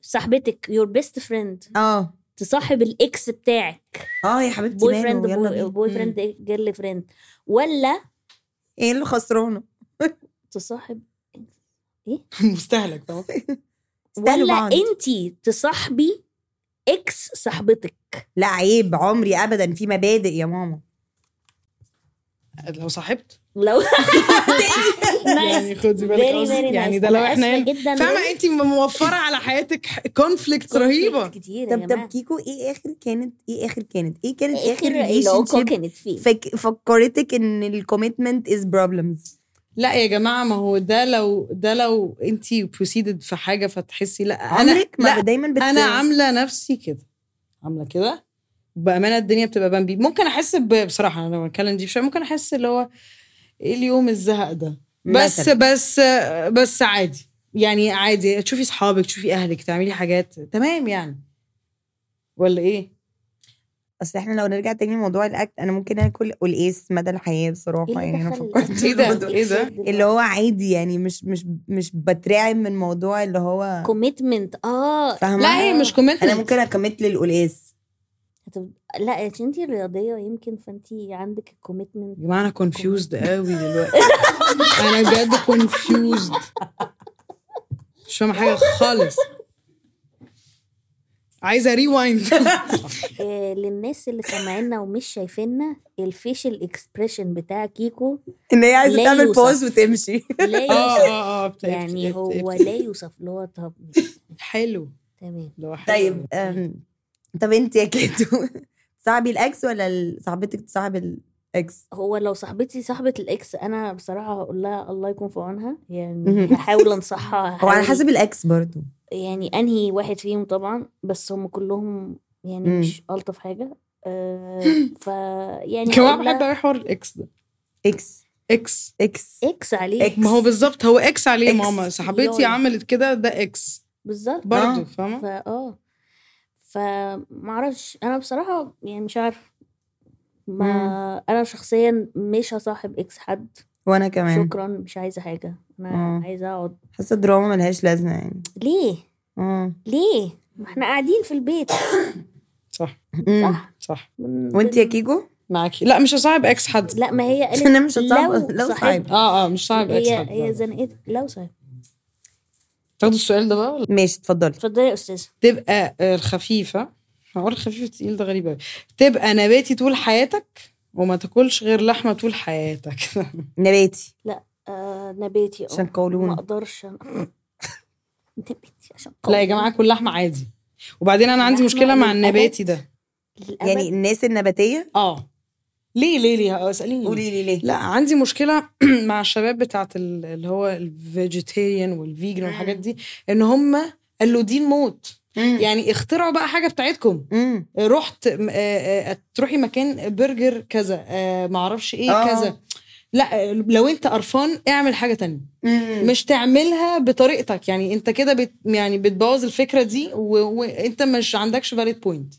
S2: صاحبتك your best friend
S1: اه
S2: تصاحب الاكس بتاعك
S1: اه يا حبيبتي
S2: بوي
S1: ماله يلا
S2: فريند
S1: بينا.
S2: بوي فريند جيرل فريند ولا
S1: ايه اللي خسرانه
S2: تصاحب
S3: مستهلك طبعا
S1: استاهلوا
S2: ولا
S1: بعض
S2: انتي تصاحبي اكس صاحبتك
S1: لا عيب عمري ابدا في مبادئ يا ماما
S3: لو صاحبت
S2: لو
S3: يعني
S2: نايس
S3: خدي بالك
S2: فيري
S3: قصدي.
S2: فيري
S3: يعني ده لو احنا هنا-
S2: جدا
S3: فاهمه انت موفره على حياتك كونفليكت رهيبه
S2: كتير يا
S1: طب
S2: جماعه
S1: طب كيكو ايه اخر كانت ايه اخر كانت ايه كانت اخر
S2: اخر العلاقه
S1: relationship
S2: كانت إيه؟ فين
S1: فك... فكرتك ان الكوميتمنت از بروبلمز
S3: لا يا جماعه ما هو ده لو ده لو انت بروسيدد في حاجه فتحسي لا انا
S1: عمرك ما
S3: لا
S1: ب- دايما بت...
S3: انا عامله نفسي كده عامله كده بامانه الدنيا بتبقى بامبي ممكن احس ب- بصراحه انا لما اتكلم دي شويه ممكن احس اللي هو ايه اليوم الزهق ده بس
S1: مثلاً.
S3: بس بس عادي يعني عادي تشوفي اصحابك تشوفي اهلك تعملي حاجات تمام يعني ولا ايه
S1: اصل احنا لو نرجع تاني لموضوع الاكل انا ممكن اكل قلقاس مدى الحياه
S2: ايه
S1: بصراحه
S2: اللي
S1: يعني انا
S2: دخل
S1: فكرت في
S3: إيه ده؟
S1: الموضوع.
S3: إيه ده؟
S1: اللي هو عادي يعني مش مش مش بترعب من موضوع اللي هو
S2: كوميتمنت اه
S1: فاهمة؟
S3: لا هي مش كومنت
S1: انا ممكن اكمت للقلقاس
S2: هتب- لا عشان انتي رياضيه يمكن فانتي عندك الكوميتمنت
S3: يا جماعه انا كونفيوزد قوي دلوقتي انا بجد كونفيوزد مش فاهمه حاجه خالص عايزه ريوايند
S2: آه للناس اللي سامعينا ومش شايفيننا الفيشل اكسبريشن بتاع كيكو
S1: ان هي عايزه
S2: لا
S1: تعمل
S2: يوصف.
S1: بوز وتمشي
S2: لا
S3: اه
S2: يوصف
S3: اه اه بتقفل-
S2: يعني
S3: بتقفل-
S2: هو
S3: بتقفل.
S2: لا يوصف اللي هو طب
S3: حلو
S2: تمام
S3: لو حلو
S1: طيب أم، طب انت يا كاتو صاحبي الاكس ولا ال- صاحبتك تصاحب الاكس
S2: هو لو صاحبتي صاحبة الإكس أنا بصراحة هقول لها الله يكون في عونها يعني
S1: مهم.
S2: هحاول أنصحها
S1: هو على
S2: هحاول-
S1: حسب الاكس برضو
S2: يعني انهي واحد فيهم طبعا بس هم كلهم يعني
S1: مم.
S2: مش الطف حاجه آه ف يعني
S3: كمان
S2: أقول لها
S3: بحب قوي حوار الاكس ده
S1: اكس
S3: اكس
S1: اكس
S2: اكس عليه
S3: ما هو بالظبط هو اكس عليه
S1: إكس.
S3: ماما صاحبتي
S2: يلا.
S3: عملت كده ده اكس
S2: بالظبط
S1: آه.
S3: برضه فاهمه
S2: فا اه فمعرفش انا بصراحه يعني مش عارف ما انا شخصيا مش هصاحب اكس حد
S1: وانا كمان
S2: شكرا مش عايزه حاجه انا
S1: آه.
S2: عايزه اقعد
S1: حاسه الدراما ملهاش لازمه يعني
S2: ليه
S1: اه
S2: ليه ما احنا قاعدين في البيت
S3: صح
S1: أمم.
S2: صح
S3: صح
S2: بن-
S1: وانت يا
S2: بن-
S1: كيكو
S3: معاكي لا مش هصاحب اكس حد
S2: لا ما هي قالت
S1: انا مش هتصعب
S2: لو
S1: لو
S2: صاحب
S1: صعب
S3: اه اه مش صعب اكس
S2: هي
S3: حد
S2: هي
S3: هي
S2: زنقت لو صاحب
S3: تاخدوا السؤال ده بقى ولا؟
S1: ماشي اتفضلي
S2: اتفضلي يا استاذه
S3: تبقى آه، الخفيفه هقول خفيف تقيل ده غريب قوي تبقى نباتي طول حياتك وما تاكلش غير لحمه طول حياتك
S1: نباتي
S2: آه نباتي
S1: عشان
S2: اه ما
S1: قولون
S2: اقدرش أنا- نباتي عشان
S3: لا يا جماعه كل لحمه عادي وبعدين انا عندي
S2: لحمة
S3: مشكله مع
S2: للأبد.
S3: النباتي ده
S2: للأبد.
S1: يعني الناس النباتيه
S3: اه ليه ليه ليه اساليني ليه؟
S1: قولي لي ليه
S3: لا عندي مشكله مع الشباب بتاعت ال- اللي هو الفيجيتيريان والفيجن والحاجات دي ان هم قالوا دي الموت
S1: يعني
S3: يعني اخترعوا بقى حاجه بتاعتكم
S1: امم
S3: رحت م- آه، آه، تروحي مكان برجر كذا آه، معرفش ايه
S1: آه.
S3: كذا لا آه، لو انت قرفان اعمل حاجه تانية
S1: مش
S3: مش تعملها بطريقتك يعني انت كده بت يعني بتبوظ الفكره دي و- وانت مش عندكش فاليد بوينت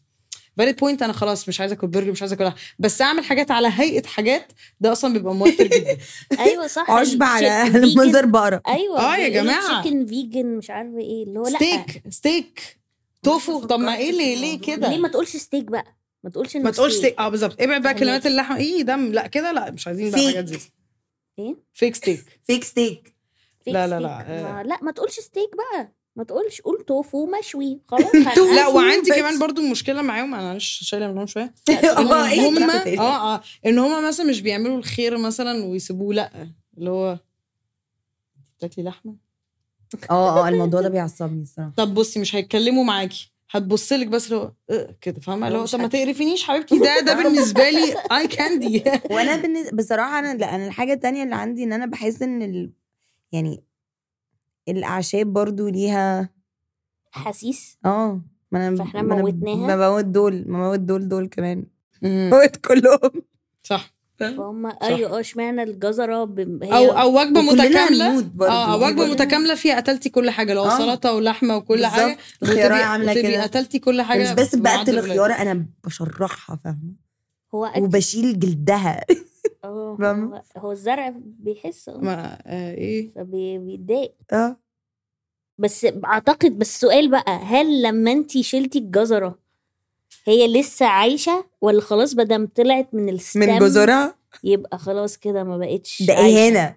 S3: فاليد بوينت انا خلاص مش عايزه اكل برجر مش عايزه اكل لحمة. بس اعمل حاجات على هيئه حاجات ده اصلا بيبقى موتر جدا
S2: ايوه صح
S1: عشب على
S2: الشيك- vegan.
S1: منظر بقره
S2: ايوه
S3: آه يا جماعة.
S2: تشيكن فيجن مش عارفه ايه اللي هو لا
S3: ستيك ستيك توفو طب ما ايه ليه ليه
S2: ليه
S3: كده
S2: ما تقولش ستيك بقى ما تقولش إنه
S3: ما تقولش ستيك اه بالظبط ابعد بقى
S2: فهماكي.
S3: كلمات اللحمه ايه دم لا كده لا مش عايزين بقى الحاجات دي
S1: فيك
S2: ايه
S3: فيك ستيك
S1: فيك ستيك
S2: فيك
S3: لا، لا،
S2: ستيك.
S3: لا، آه.
S2: ما- لا ما تقولش ستيك بقى ما تقولش قول توفو مشوي خلاص
S3: لا وعندي
S1: بس.
S3: كمان برضو مشكله معاهم معلش شايله منهم شويه
S1: اه ايه
S3: هم
S1: الكلام ده؟
S3: اه اه ان هم مثلا مش بيعملوا الخير مثلا ويسيبوه لا اللي هو بتاكلي لحمه
S1: اه اه الموضوع ده بيعصبني الصراحه
S3: طب بصي مش هيتكلموا معاكي هتبص لك بس اللي هو آه، كده فاهمه اللي هو
S2: مش
S3: طب ما
S2: هاكل.
S3: تقرفينيش حبيبتي ده ده بالنسبه لي اي كاندي
S1: وانا بالنز- بصراحه انا لا انا الحاجه التانية اللي عندي ان انا بحس ان ال... يعني الاعشاب برضو ليها
S2: حسيس
S1: اه ما انا
S2: فإحنا
S1: ما أنا
S2: موتناها؟
S1: بموت دول بموت دول دول كمان بموت كلهم
S3: صح
S2: فهم ايوه اه اشمعنى الجزره ب... هي
S3: او او وجبه
S1: وكلنا
S3: متكامله
S1: هنموت برضو. يعني
S3: اه آه، وجبه
S1: كلنا.
S3: متكامله فيها قتلتي كل حاجه لو
S1: آه.
S3: سلطه ولحمه وكل حاجه
S1: بالظبط. الخيارة
S3: وتبقي-
S1: عامله
S3: وتبقي
S1: كده
S3: قتلتي كل حاجه
S1: مش بس
S3: بمعدل
S1: بقتل
S3: قليل.
S1: الخياره انا بشرحها فاهمه
S2: هو أكل.
S1: وبشيل جلدها
S2: آه،
S1: فاهمة؟
S2: هو, هو الزرع بيحس آه،
S3: ما آه، ايه
S2: فبي- بيتضايق
S1: اه
S2: بس اعتقد بس السؤال بقى هل لما انت شلتي الجزره هي لسه عايشه ولا خلاص بدم طلعت من الستم
S1: من جزرها
S2: يبقى خلاص كده ما بقتش
S1: ده
S2: عايشة.
S1: اهانه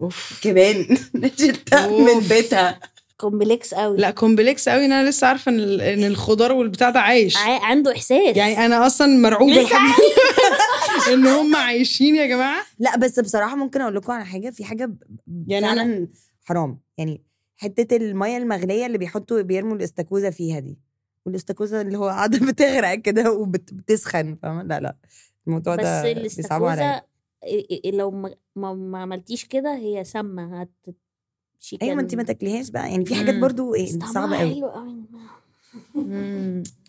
S3: اوف
S1: كمان نشلتها
S3: أوف.
S1: من بيتها
S2: كومبلكس قوي
S3: لا كومبلكس قوي ان انا لسه عارفه ان ال- ان الخضار والبتاع ده عايش
S2: ع- عنده احساس
S3: يعني انا اصلا مرعوبه
S2: لسه
S3: لحد ان هم عايشين يا جماعه
S1: لا بس بصراحه ممكن اقول لكم على حاجه في حاجه ب-
S3: يعني أنا-
S1: فعلا حرام يعني حته الميه المغليه اللي بيحطوا بيرموا الاستاكوزا فيها دي والاستاكوزا اللي هو قاعده بتغرق كده وبتسخن فاهمه لا لا الموضوع ده
S2: بس
S1: بيصعبوا عليا
S2: الاستاكوزا إ- إ- لو ما, ما, ما عملتيش كده هي سامه هت she
S1: ايوه ما
S2: can-
S1: انت ما تاكليهاش بقى يعني في حاجات
S3: مم.
S1: برضو إيه
S2: طعمها
S1: صعبه قوي
S2: حلو قوي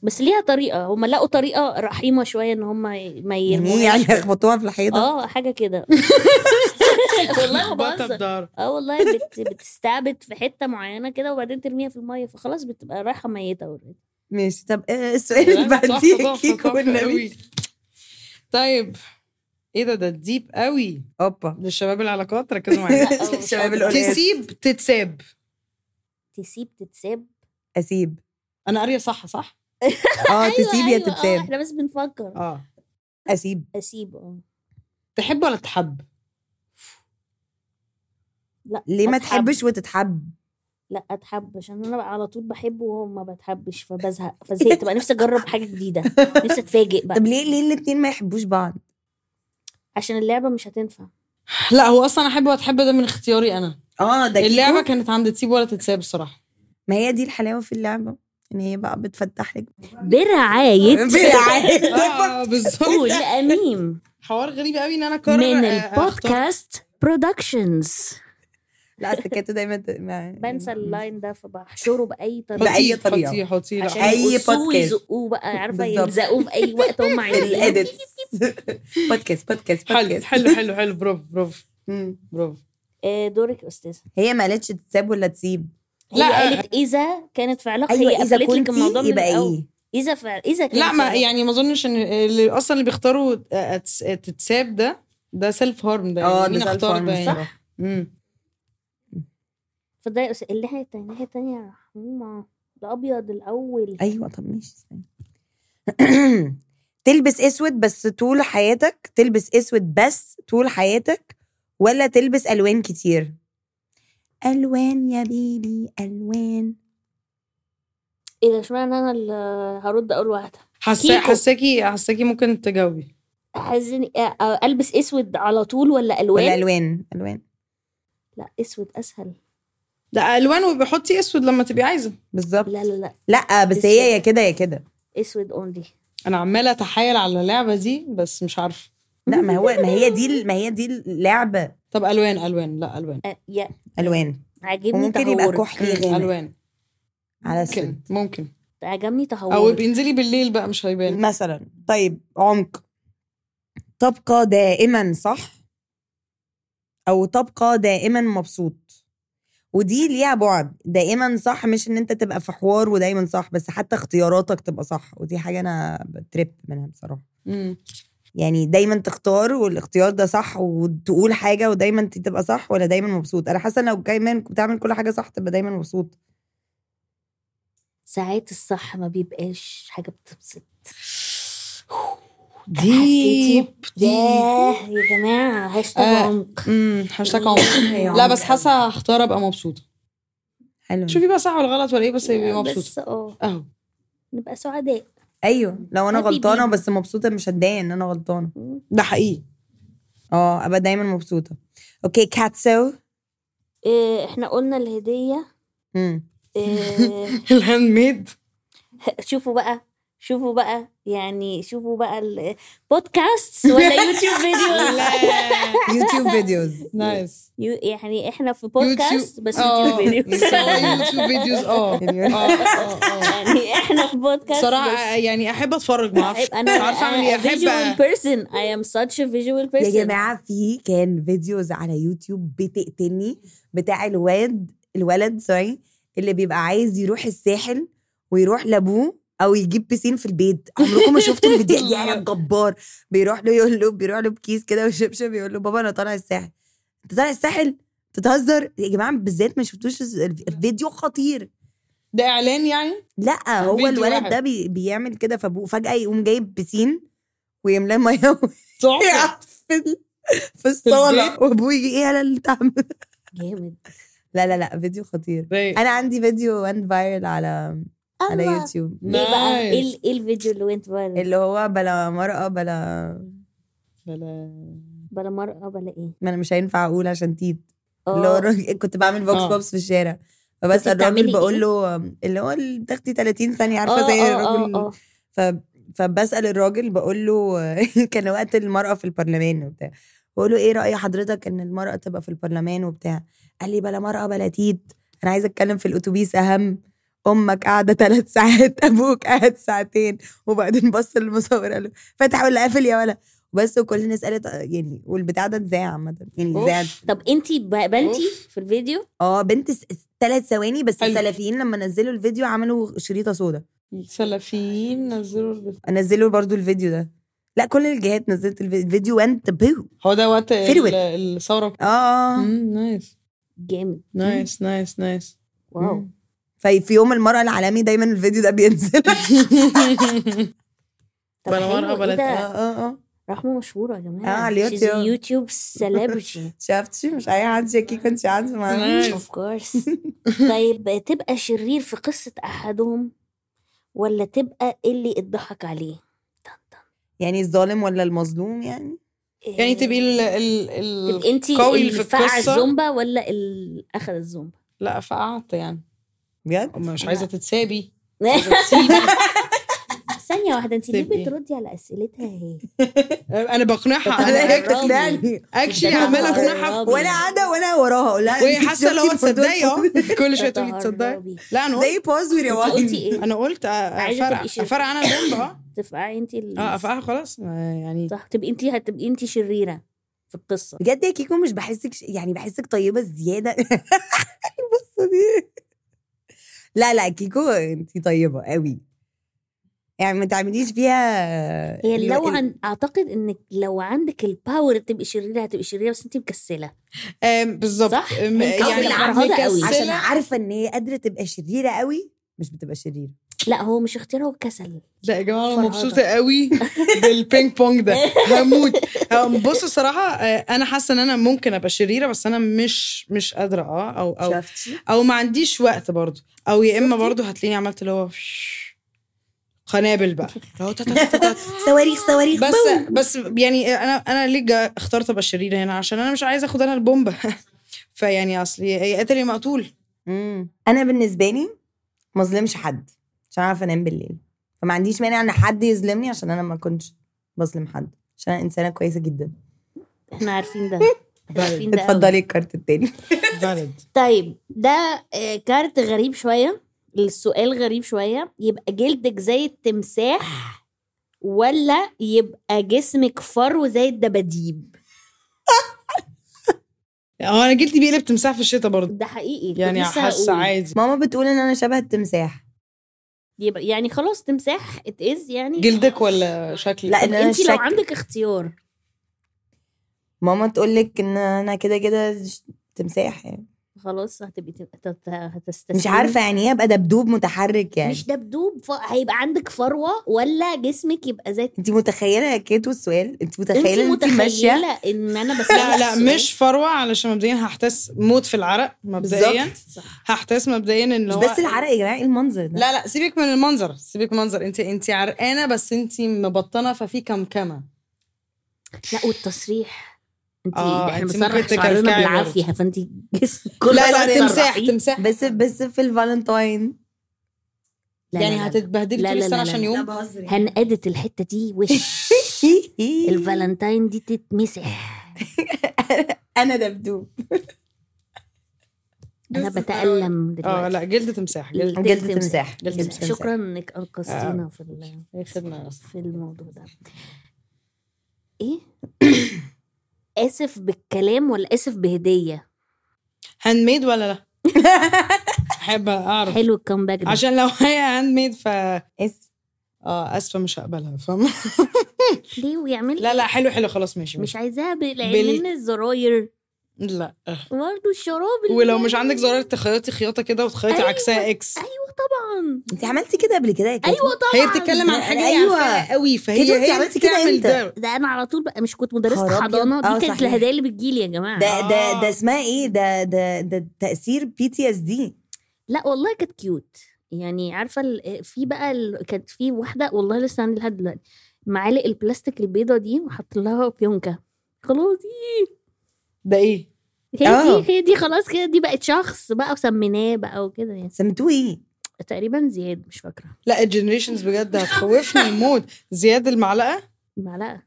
S2: بس ليها طريقه هم لقوا طريقه رحيمه شويه ان هم ما
S1: يعني
S2: يرموها
S1: إيه يعني يخبطوها في الحيطه
S2: اه حاجه كده والله ما
S3: بطة
S2: بهزر
S3: الدار
S2: اه والله بت بتستعبد في حته معينه كده وبعدين ترميها في الميه فخلاص بتبقى رايحه ميته already.
S1: ماشي طب آه، السؤال اللي
S3: لا، تحفة،
S1: بعديه
S3: تحفة،
S1: كيكو
S3: تحفة
S1: والنبي
S3: قوي. طيب ايه ده ده ديب قوي
S1: اوبا
S3: للشباب العلاقات ركزوا معايا
S2: أوه.
S1: الشباب القلقاس
S3: تسيب تتساب
S2: تسيب تتساب
S1: اسيب
S3: انا قاريه صح صح
S1: اه
S3: أيوه،
S1: تسيب يا
S2: أيوة، آه،
S1: تتساب
S2: احنا بس بنفكر
S3: اه
S1: اسيب
S2: اسيب اه
S3: تحب ولا تحب
S2: لا
S1: ليه ما
S2: أتحب.
S1: تحبش وتتحب
S2: لا اتحب عشان انا بقى على طول بحبه وهو ما بتحبش فبزهق فزهقت بقى نفسي اجرب حاجه جديده نفسي اتفاجئ بقى
S1: طب ليه ليه الاتنين ما يحبوش بعض
S2: عشان اللعبه مش هتنفع
S3: لا هو اصلا احب ولا تحب ده من اختياري انا
S1: اه ده كيكو.
S3: اللعبه كانت عند تسيب ولا تتساب الصراحه
S1: ما هي دي الحلاوه في اللعبه ان هي بقى بتفتح لك
S2: برعايه
S3: اه بالظبط
S2: قول اميم
S1: آه،
S3: حوار غريب قوي ان انا قرر
S2: من البودكاست برودكشنز
S1: لا أصل كانت دايما ت- ما- يعني
S2: بنسى اللاين ده فبحشره باي طريقه
S1: بأي طريقة.
S3: حطيه حطيه
S2: عشان
S3: لا
S1: أي
S2: يقصوه
S1: بودكاست.
S2: ويزقوه بقى عارفه
S1: بالظبط.
S2: يلزقوه في اي وقت هم
S1: في
S2: عايزين
S1: الاديت بودكاست بودكاست
S3: حلو
S1: بودكاست
S3: حلو حلو حلو برافو برافو
S1: مم.
S3: برافو
S2: آه، دورك يا استاذه
S1: هي ما قالتش تساب ولا تسيب
S2: هي
S3: لا.
S2: قالت اذا كانت في علاقه
S1: ايوه
S2: هي
S1: اذا
S2: قفلت لك
S1: كنت
S2: الموضوع من
S1: يبقى
S2: الاول
S1: ايه
S2: اذا فعل اذا كانت
S3: لا
S2: في
S3: ما
S2: علاقة.
S3: يعني ما اظنش ان اللي اصلا اللي بيختاروا أتس- تتساب ده ده سيلف هارم ده
S1: اه
S3: يعني
S1: ده
S3: مين
S1: سؤال
S3: اختار
S1: فارم
S3: ده يعني
S1: الصراحة. مم.
S2: فده يا أستاذ- الناحيه التانية الناحيه التانية يا رحمه الابيض الاول
S1: ايوه طب ماشي استنى تلبس اسود بس طول حياتك تلبس اسود بس طول حياتك ولا تلبس الوان كتير الوان يا بيبي الوان
S2: ايه ده اشمعنى انا اللي هرد اول واحده
S3: حاسه
S2: كيكو.
S3: حاساكي حاساكي ممكن تجاوبي
S2: حزني أ- أ- البس اسود آه، على طول ولا الوان
S1: ولا الوان الوان
S2: لا اسود اسهل
S3: ده الوان وبيحطي اسود لما تبقي عايزه
S1: بالظبط
S2: لا
S1: لا, آه،
S2: لا لا
S1: بس هي يا
S2: أسود.
S1: كده يا كده
S2: اسود اونلي
S3: انا عماله اتحايل على اللعبه دي بس مش عارفه
S1: لا ما هو ما هي دي ال- ما هي دي اللعبه
S3: طب الوان الوان لا الوان
S2: آه، يا
S1: الوان
S2: عاجبني
S1: وممكن يبقى
S2: تهورك
S1: كحلي غامق
S3: الوان
S1: على
S3: ممكن
S1: اسود
S3: ممكن
S2: عجبني
S3: او
S2: تهورك
S3: بينزلي بالليل بقى مش هيبان
S1: مثلا طيب عمق تبقى دائما صح او تبقى دائما مبسوط ودي ليها بعد دائما صح مش ان انت تبقى في حوار ودايما صح بس حتى اختياراتك تبقى صح ودي حاجه انا بترب منها بصراحه
S3: مم.
S1: يعني دايما تختار والاختيار ده صح وتقول حاجه ودايما انت تبقى صح ولا دايما مبسوط انا حاسه لو دايما بتعمل كل حاجه صح تبقى دايما مبسوط
S2: ساعات الصح ما بيبقاش حاجه بتبسط
S3: ديب
S2: ياه يا جماعه هاشتاج
S3: آه.
S2: عمق
S3: امم هاشتاج عمر لا بس حاسه هختار ابقى مبسوطه
S1: حلو
S3: شوفي بقى صح ولا غلط ولا ايه بس هيبقى
S2: بس
S3: مبسوطه
S2: اه
S3: اهو
S2: نبقى سعداء
S1: ايوه لو انا
S2: Happy
S1: غلطانه
S2: bee.
S1: بس مبسوطه مش هتضايق ان انا غلطانه
S3: ده حقيقي
S1: اه ابقى دايما مبسوطه اوكي كاتسو
S2: إيه، احنا قلنا الهديه
S1: مم.
S2: إيه،
S3: الهاند ميد
S2: شوفوا بقى شوفوا بقى يعني شوفوا بقى البودكاست ولا يوتيوب فيديو
S1: يوتيوب فيديوز
S3: نايس
S2: يو- يعني احنا في بودكاست بس
S3: آه،
S2: يوتيوب فيديو
S3: بصراحة يوتيوب فيديوز اه آه، آه، آه.
S2: يعني احنا في بودكاست
S3: صراحة يعني احب اتفرج ما اعرفش
S2: بس انا
S3: مش عارفه اعمل ايه
S2: فيجوال
S3: احب
S2: بيرسون اي ام such a
S1: يا
S2: فيجوال بيرسون
S1: جماعه في كان فيديوز على يوتيوب بتقتلني بتاع الواد الولد سوري اللي بيبقى عايز يروح الساحل ويروح لابوه او يجيب بيسين في البيت عمركم ما شفتوا الفيديو دي يا جبار بيروح له يقول له بيروح له بكيس كده وشبشب يقول له بابا انا طالع الساحل انت طالع الساحل بتتهزر يا جماعه بالذات ما شفتوش الف- الفيديو خطير
S3: ده اعلان يعني
S1: لا هو
S3: فيديو
S1: الولد
S3: واحد.
S1: ده بي بيعمل كده فابوه فجأة يقوم جايب بسين ويملاه ميه
S3: تحفة
S1: ويقف في ال- في الصالة
S3: البيت.
S1: وابوه يجي ايه يا اللي تعمل
S2: جامد
S1: لا لا لا فيديو خطير
S3: رايق.
S1: انا عندي فيديو وان فايرل على على
S2: الله.
S1: يوتيوب
S2: ايه بقى ايه
S3: نايس.
S2: ال- ايه الفيديو اللي وينت فايرال
S1: اللي هو بلا مرأة بلا
S3: بلا-
S2: بلا مرأة بلا ايه
S1: ما انا مش هينفع اقول عشان تيت اللي هو
S2: اه
S1: الراجل- كنت بعمل فوكس
S3: آه.
S1: بوبس في الشارع فبس
S2: كنت بتعملي
S1: الراجل بقول
S2: إيه؟
S1: له اللي هو اللي بتاخدي 30 ثانية عارفة
S2: اه
S1: زي
S2: اه
S1: الراجل
S2: اه اه
S1: ف... فبسأل الراجل بقول له كان وقت المرأة في البرلمان وبتاع بقول له ايه رأي حضرتك ان المرأة تبقى في البرلمان وبتاع قال لي بلا مرأة بلا تيت انا عايز اتكلم في الاتوبيس اهم امك قاعده ثلاث ساعات ابوك قاعد ساعتين وبعدين بص للمصور قال له فاتح ولا قافل يا ولا بس وكل الناس قالت آه، يعني والبتاع ده اتذاع عامه يعني
S3: أوف.
S1: اتذاع
S2: طب انتي ب- بنتي
S3: أوف.
S2: في الفيديو
S1: اه بنت ثلاث ثواني بس
S3: حلو.
S1: السلفيين لما نزلوا الفيديو عملوا شريطه سودا
S3: سلفيين نزلوا البس-
S1: نزلوا برضو الفيديو ده لا كل الجهات نزلت الفي- الفيديو وانت بيو
S3: هو ده وقت ال-
S1: فيرويل.
S3: الثورة
S2: آه.
S1: اه
S3: مم، نايس
S2: جامد
S3: نايس نايس نايس
S2: واو
S1: ففي يوم المرأة العالمي دايما الفيديو ده بينزل
S2: طب حلو ايه
S1: اه
S2: ده
S1: اه اه
S2: رحمة مشهورة يا جماعة
S1: آه، على
S2: She's a
S1: اليوتيوب.
S2: يوتيوب سيلبرتي
S1: شفتي مش اي حد شاكيك كنت عارفه معانا
S3: نايس.
S2: اوف كورس طيب تبقى شرير في قصة أحدهم ولا تبقى اللي اتضحك عليه طن طن.
S1: يعني الظالم ولا المظلوم يعني
S2: إيه،
S3: يعني تبقي ال ال
S2: تبقي
S3: ال
S2: انت
S3: قوي اللي في
S2: فقع
S3: القصة.
S2: الزومبا ولا اللي اخذ الزومبا
S3: لا فقعت يعني
S1: بجد
S3: أما مش عايزة تتسابي
S2: ثانية ثانيه واحده انت ليه
S3: تبقي-
S2: بتردي على اسئلتها هي
S3: انا بقنعها انا
S1: هي
S2: أنا
S3: اكت-
S1: بتقنعني
S3: اكشلي
S2: ده أنا
S3: عماله اقنعها
S2: هقرب.
S1: وانا قاعده وانا وراها اقول لها
S3: وهي
S2: إيه؟
S1: أنت
S3: حاسه لو
S1: شفتي الفضول؟
S3: تصدقي اه كل شويه تقولي تصدقي
S2: تهربي.
S3: لا انا قلت
S1: زي باز وريوايند
S2: قلتي ايه
S3: انا قلت آه،
S2: عايزة تبقي شريرة.
S3: افرع انا البومب اه
S2: تبقى انت ال-
S3: اه افرقها خلاص آه، يعني
S2: صح تبقي انت هتبقي انت شريره في القصه
S1: بجد يا كيكو مش بحسك ش- يعني بحسك طيبه زياده البصه دي لا لا كيكو انت طيبه قوي يعني ما تعمليش فيها
S3: إيه،
S2: هي
S1: ال-
S2: لو
S1: ال-
S2: عن... اعتقد انك لو عندك الباور تبقي شريره هتبقي شريره بس انت مكسله
S3: آم، بالظبط
S2: صح؟
S3: آم،
S2: هي
S1: قصدي
S3: يعني
S2: العرهضة قوي.
S1: عشان
S3: مكسله
S1: عارفه ان هي قادره تبقى شريره قوي مش بتبقى شريره
S2: لا هو مش اختيار هو كسل
S3: لا يا جماعه انا
S2: فرهضة.
S3: مبسوطه قوي بالبينج بونج ده هموت آم، بص الصراحه آه، انا حاسه ان انا ممكن ابقى شريره بس انا مش مش قادره اه او او
S1: شفتي
S3: او ما عنديش وقت برضو او يا اما
S2: شفتي؟
S3: برضو هتلاقيني عملت اللي هو قنابل بقى اللي هو تا- تا- تا- تا- تا.
S1: صواريخ صواريخ
S3: بس
S1: بوم.
S3: بس يعني انا انا ليه جا- اخترت ابقى شريره هنا عشان انا مش عايزه اخد انا البومبه فيعني اصلي يا قاتل يا مقتول
S1: مم. انا بالنسبه لي ما اظلمش حد عشان اعرف انام بالليل فما عنديش مانع ان حد يظلمني عشان انا ما كنتش بظلم حد عشان انا انسانه كويسه جدا
S2: احنا عارفين ده احنا عارفين ده قوي.
S1: اتفضلي الكارت التاني
S3: فاليد
S2: طيب ده آه، كارت غريب شويه السؤال غريب شويه يبقى جلدك زي التمساح ولا يبقى جسمك فرو زي الدباديب
S3: هو انا جلدي بيقلب تمساح في الشتاء برضه
S2: ده حقيقي كنت
S3: يعني
S2: لسه
S3: حاسه
S2: هقول.
S3: عادي
S1: ماما بتقول ان انا شبه التمساح
S2: يبقى يعني خلاص تمساح اتئز يعني
S3: جلدك ولا شكلي
S1: لا،
S2: طب
S1: إن أنا
S2: انت لو
S1: شكل-
S2: عندك اختيار
S1: ماما تقول لك ان انا كده كده ش- تمساح يعني
S2: خلاص هتبقي تم- هت- هت- هتستسلمي
S1: مش عارفه يعني ايه ابقى دبدوب متحرك يعني
S2: مش دبدوب ف... هيبقى عندك فروه ولا جسمك يبقى زي
S1: انت متخيله يا كيتو السؤال انت متخيله
S2: انت
S1: ان انت ماشيه
S2: متخيله ان انا بس
S3: لا لا مش فروه علشان مبدئيا هحتاس موت في العرق مبدئيا
S1: بالظبط
S3: هحتاس مبدئيا ان
S1: مش
S3: هو
S1: بس العرق يا جماعه ايه المنظر ده
S3: لا لا سيبك من المنظر سيبك من المنظر انت انت عرقانه بس انت مبطنه ففي كمكمه
S2: لا والتصريح انت
S3: آه،
S2: احنا
S3: انت
S2: بنسرح
S3: ممكن
S2: شعرنا
S3: تكلكعي
S2: بالعافيه فانت جسم كله
S3: لا
S1: بس
S3: لا
S1: بتسرحي.
S3: تمساح تمساح
S1: بس بس في الفالنتاين
S2: لا،
S3: يعني
S2: لا، لا.
S3: هتتبهدلي
S2: لا،
S3: طول
S2: لا،
S3: السنه
S2: لا،
S3: عشان
S2: لا.
S3: يوم
S2: هنأدت الحته دي وش الفالنتاين دي تتمسح
S1: انا دبدوب
S2: انا بتألم
S3: اه
S2: دلوقتي
S3: لا جلد تمساح جلد
S2: جلد
S1: جلد
S2: تمساح.
S1: تمساح
S3: جلد تمساح. آه.
S2: شكرا انك انقذتينا في ال-
S3: اي خدمه
S2: في الموضوع ده ايه اسف بالكلام ولا اسف بهديه
S3: هاند ميد ولا لا؟ احب اعرف
S2: حلو الكامباك ده
S3: عشان لو هي هاند ميد ف
S1: اس
S3: اه اسفه مش هقبلها فاهمه
S2: ليه ويعمل
S3: لا لا حلو حلو خلاص ماشي مش
S2: مش عايزاها بال-
S3: بال-
S2: لان الزراير
S3: لا
S2: برضه الشراب اللي-
S3: ولو مش عندك زرار تخيطي خياطه كده وتخيطي
S2: أيوة.
S3: عكسها اكس
S2: ايوه طبعا
S1: انت عملتي كده قبل كده يا كيتو
S2: ايوه طبعا
S3: هي بتتكلم عن حاجه
S1: أيوة.
S3: أيوة. قوي فهي
S1: كده أنت
S3: هي
S1: عملتي كده
S3: بتعمل
S1: إمتى؟
S3: ده
S2: ده انا على طول بقى مش كنت مدرسه
S1: خراب
S2: حضانه
S1: يوم. آه،
S2: دي كانت
S1: صحيح.
S2: الهدايا اللي بتجيلي يا جماعه
S1: ده ده
S3: آه.
S1: ده اسمها ايه ده ده ده تاثير بي تي اس دي
S2: لا والله كانت كيوت يعني عارفه ال- في بقى ال... كانت في واحده والله لسه عندي لحد دلوقتي معالق البلاستيك البيضه دي وحط لها فيونكه خلاص دي
S3: ده ايه؟
S2: هي
S1: آه.
S2: دي هي دي خلاص كده دي بقت شخص بقى وسميناه بقى وكده يعني
S1: سميتوه ايه؟
S2: تقريبا زياد مش فاكره
S3: لا الجنريشنز بجد هتخوفني الموت زياد المعلقه
S2: معلقه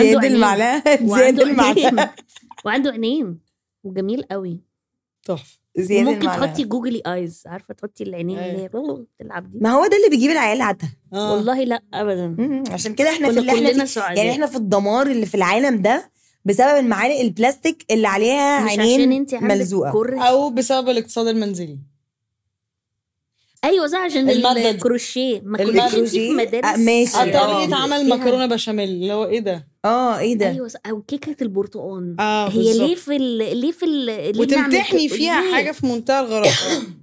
S1: زياد
S2: عينين.
S1: المعلقه زياد
S2: وعنده
S1: المعلقه
S2: عينين. وعنده عينين وجميل قوي
S3: تحفه
S1: زياد
S2: ممكن تحطي
S1: المعلقه
S2: جوجلي ايز عارفه تحطي العينين اللي هي تلعب دي
S1: ما هو ده اللي بيجيب العيال عتها
S3: آه.
S2: والله لا ابدا
S1: مم، عشان كده احنا في
S2: كنا
S1: اللي احنا
S2: كلنا
S1: فيه
S2: سعداء
S1: يعني احنا في الدمار اللي في العالم ده بسبب المعالق البلاستيك اللي عليها
S2: مش عشان
S1: عينين
S2: انت عندك
S1: ملزوقة.
S2: كره
S3: او بسبب الاقتصاد المنزلي
S2: ايوه صح عشان
S3: المادة دي.
S2: الكروشيه ما
S1: المادة
S2: كناش انتي
S1: دي.
S2: في مدارس
S1: آه، ماشي.
S3: آه،
S1: آه.
S3: طريقه عمل مكرونه بشاميل اللي هو ايه ده؟
S1: اه ايه ده؟
S2: ايوه صح. او كيكه البرتقال
S1: آه،
S3: اه
S2: آه، هي
S3: بالظبط.
S2: ليه في ال... ليه في ال... ليه بنعمل
S3: وتمتحني
S2: كده؟
S3: فيها
S2: ليه؟
S3: حاجه في منتهى الغرابه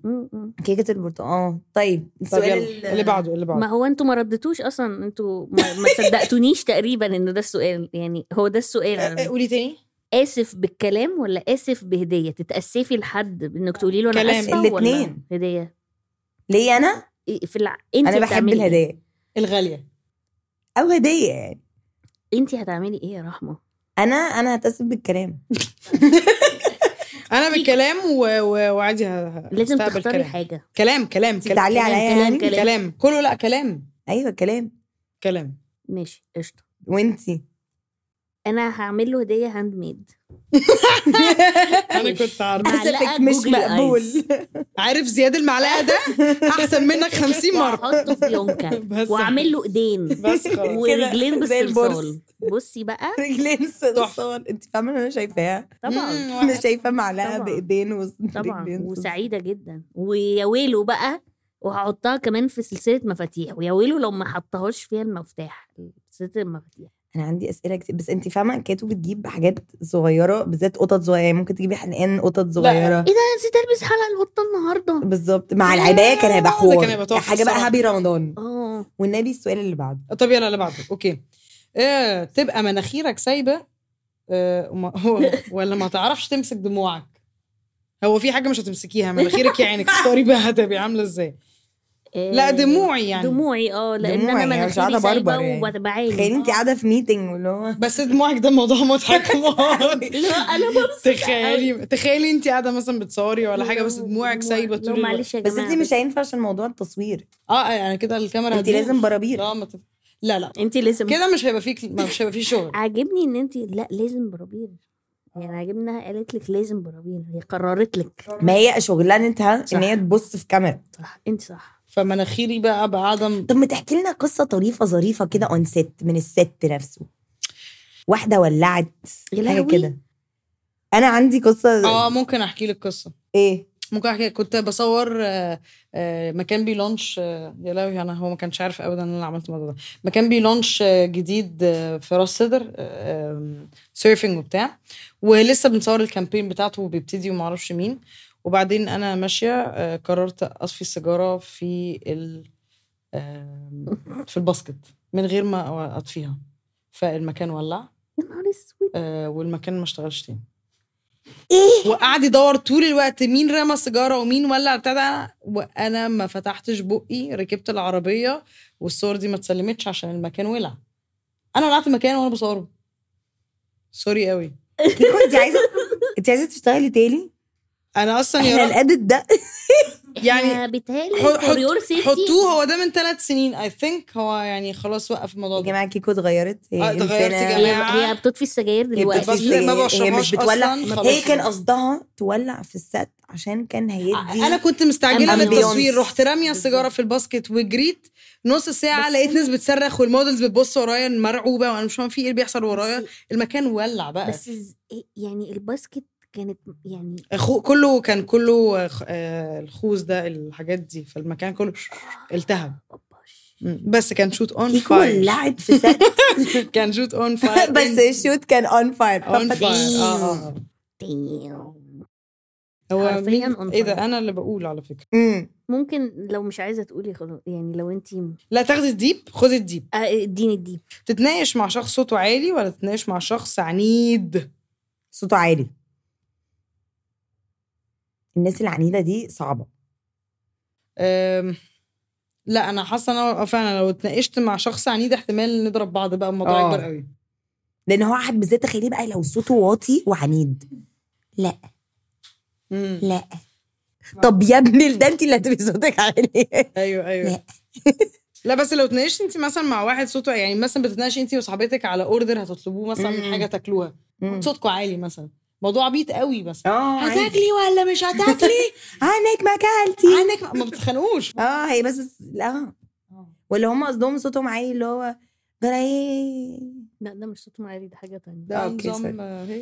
S2: م- م.
S1: كيكه البرتقال اه طيب
S3: طب
S1: السؤال
S3: يلا اللي بعده اللي
S2: ما
S3: بعده
S2: هو انتوا ما ردتوش اصلا انتوا ما, ما صدقتونيش تقريبا ان ده السؤال يعني هو ده السؤال على
S3: آه،
S2: فكرة.
S3: قولي تاني
S2: اسف بالكلام ولا اسف بهديه تتاسفي لحد انك تقولي له انا
S3: كلام.
S2: اسفه ولا
S1: الاتنين.
S2: هديه
S1: ليه انا؟
S2: إيه في الع... انت
S1: انا بحب
S2: هتعملي إيه؟
S1: الهدايا
S3: الغاليه
S1: او هديه يعني
S2: انت هتعملي ايه يا رحمه
S1: انا انا هتأسف بالكلام
S3: انا بالكلام و... و... وعادي ه- ه-
S2: لازم
S3: هستقبل
S2: تختاري
S3: كلام.
S2: حاجه
S3: كلام كلام
S1: تعليقي
S3: كلام
S1: عليا
S2: كلام
S1: يعني
S2: كلام
S3: كلام كله لا كلام
S1: ايوه كلام
S3: كلام
S2: ماشي قشطه
S1: وانتي
S2: انا هعمل له هديه هاند ميد
S3: انا كنت عارفه
S2: معلقة
S1: اسفك مش
S2: جوجل
S1: مقبول
S2: آيز.
S3: عارف زياد المعلقه ده احسن منك 50 مره
S2: واحطه في يونكا
S3: بس
S2: واعمل له ايدين
S3: بس خلاص
S2: ورجلين
S1: زي البرص.
S2: بالصلصال بصي بقى
S1: رجلين صلصال انت فاهمه إن انا شايفاها
S2: طبعا
S1: انا شايفه معلقه
S2: طبعاً.
S1: بايدين وس-
S2: طبعا
S1: رجلين صلصال.
S2: وسعيده جدا ويا ويلو بقى وهحطها كمان في سلسله مفاتيح ويا ويلو لو ما حطهاش فيها المفتاح سلسله المفاتيح
S1: انا عندي اسئله كتير بس انت فاهمه كاتو بتجيب حاجات صغيره بالذات قطط صغيره يعني ممكن تجيبي حلقان قطط صغيره
S2: ايه ده أنا نسيت البس حلقه القطه النهارده
S1: بالظبط مع
S3: لا،
S1: العبايه كان هيبقى
S3: ده كان
S1: حوار
S3: هيبقى تحفة
S1: حاجه بقى
S3: الصراحة.
S1: هابي رمضان
S2: اه
S1: والنبي السؤال اللي بعده
S3: طب يلا اللي بعده اوكي آه، تبقى مناخيرك سايبه آه، وما- هو- ولا ما تعرفش تمسك دموعك هو في حاجه مش هتمسكيها مناخيرك يا عينك اختاري بقى هتبقى عامله ازاي لا دموعي يعني
S2: آه، دموعي اه لان
S1: دموعي،
S2: انا
S1: يعني مش قاعدة
S2: مناخيري
S1: بربر
S2: سايبه
S1: يعني. تخيلي
S3: أيوة.
S2: وبعاني
S1: انت قاعده في ميتنج واللي هو
S3: بس دموعك ده الموضوع مضحك موت.
S2: لا انا بمسك
S3: تخيلي تخيلي انت قاعده مثلا بتصوري ولا حاجه بس دموعك سايبه طول الوقت
S2: معلش يا
S1: بس
S2: جماعه
S1: انت مش هينفع عشان موضوع التصوير
S3: اه آه، يعني كده الكاميرا
S1: انت
S3: هتدور.
S1: لازم برابير
S3: لا ما تف... لا لا
S2: انت لازم
S3: كده مش هيبقى فيك مش هيبقى فيه شغل
S2: عاجبني ان انت لا لازم برابير يعني عاجبني انها قالت لك لازم برابير هي قررت لك
S1: ما هي شغلانتها
S2: صح.
S1: ان هي تبص في كاميرا
S2: صح انت صح
S3: فمناخيري بقى بقى قاعده
S1: طب ما تحكي لنا قصه طريفه ظريفه كده اون سيت من الست نفسه واحده ولعت
S2: يا
S1: حاجه
S2: لهوي.
S1: كده انا عندي قصه
S3: اه ممكن احكي لك قصه
S1: ايه
S3: ممكن احكي كنت بصور آه، آه، مكان بيلونش آه، يا لهوي انا هو ما كانش عارف ابدا ان انا عملت الموضوع ده مكان بيلونش آه، جديد آه، في راس سدر سيرفنج وبتاع ولسه بنصور الكامبين بتاعته وبيبتدي وما اعرفش مين وبعدين انا ماشيه آه، قررت اطفي السيجاره في ال آم، في الباسكت من غير ما اطفيها فالمكان ولع
S2: يا نهار اسود
S3: آه، والمكان ما اشتغلش تاني
S2: إيه؟
S1: ايه
S3: وقعد يدور طول الوقت مين رمى سيجاره ومين ولع ابتدى وانا ما فتحتش بقي ركبت العربيه والصور دي ما اتسلمتش عشان المكان ولع انا ولعت المكان وانا بصوره سوري قوي
S1: انت عايزه انت عايزه تشتغلي تاني
S3: انا اصلا
S1: احنا
S3: يا رب-
S1: الادت ده
S3: يعني
S2: بيتهيألي
S3: حط-
S2: فور يور سيفتي
S3: حطوه هو ده من ثلاث سنين اي ثينك هو يعني خلاص وقف الموضوع
S1: يا
S3: ده
S1: جماعه كيكو اتغيرت هي
S3: آه، اتغيرت
S1: إنسانة-
S3: يا
S2: هي
S3: جماعة.
S2: هي بتطفي السجاير
S1: بتطفي
S2: دلوقتي
S3: بس لا،
S1: السجاير، هي
S3: ما بشربهاش
S1: مش بتولع
S3: أصلاً،
S1: هي
S3: خلاص.
S1: كان قصدها تولع في الست عشان كان هيدي
S3: انا كنت مستعجله
S2: أمبيونس.
S3: للتصوير رحت راميه السيجاره في الباسكت وجريت نص ساعه
S2: بس-
S3: لقيت ناس بتصرخ والمودلز بتبص ورايا مرعوبه وانا مش فاهم في ايه اللي بيحصل ورايا المكان ولع بقى
S2: بس إز- إيه- يعني الباسكت كانت يعني
S3: خو... كله كان كله آه، خ- آه، الخوذ ده الحاجات دي فالمكان كله التهب
S2: أوباش.
S3: مم. بس كان شوت اون
S1: كيكو
S3: فاير
S1: ولعت في ست
S3: كان شوت اون فاير
S1: بس الشوت كان اون فاير
S3: اون فاير
S2: Damn.
S3: آه، هو
S2: حرفياً
S3: مين
S2: on
S3: ايه ده
S2: fire.
S3: انا اللي بقول على فكره
S2: ممكن لو مش عايزه تقولي خلاص يعني لو انت
S3: لا تاخدي الديب خدي الديب
S2: إيه، اديني الديب
S3: تتناقش مع شخص صوته عالي ولا تتناقش مع شخص عنيد
S1: صوته عالي الناس العنيده دي صعبه
S3: أم، لا انا حاسه ان انا فعلا لو اتناقشت مع شخص عنيد احتمال نضرب بعض بقى الموضوع
S1: آه.
S3: يكبر قوي
S1: لان هو واحد بالذات تخيليه بقى لو صوته واطي وعنيد لا
S3: مم.
S1: لا طب يا ابني ده انت اللي هتبقي صوتك عالي
S3: ايوه ايوه
S1: لا.
S3: لا بس لو اتناقشت انت مثلا مع واحد صوته يعني مثلا بتتناقشي انت وصاحبتك على اوردر هتطلبوه مثلا من
S1: مم.
S3: حاجه تاكلوها
S1: مم.
S3: صوتكوا عالي مثلا موضوع بيت قوي مثلا
S1: اه عادي.
S3: هتاكلي ولا مش هتاكلي
S1: عنك ما اكلتي
S3: عنك ما بتتخانقوش
S1: اه هي بس لا
S2: آه.
S1: ولا هم قصدهم صوتهم عالي اللي هو ده أنا ايه
S2: لا ده مش صوت معالي ده حاجه تانية
S3: ده
S1: أوكي،
S3: نظام
S1: سوري.
S3: آه، هي.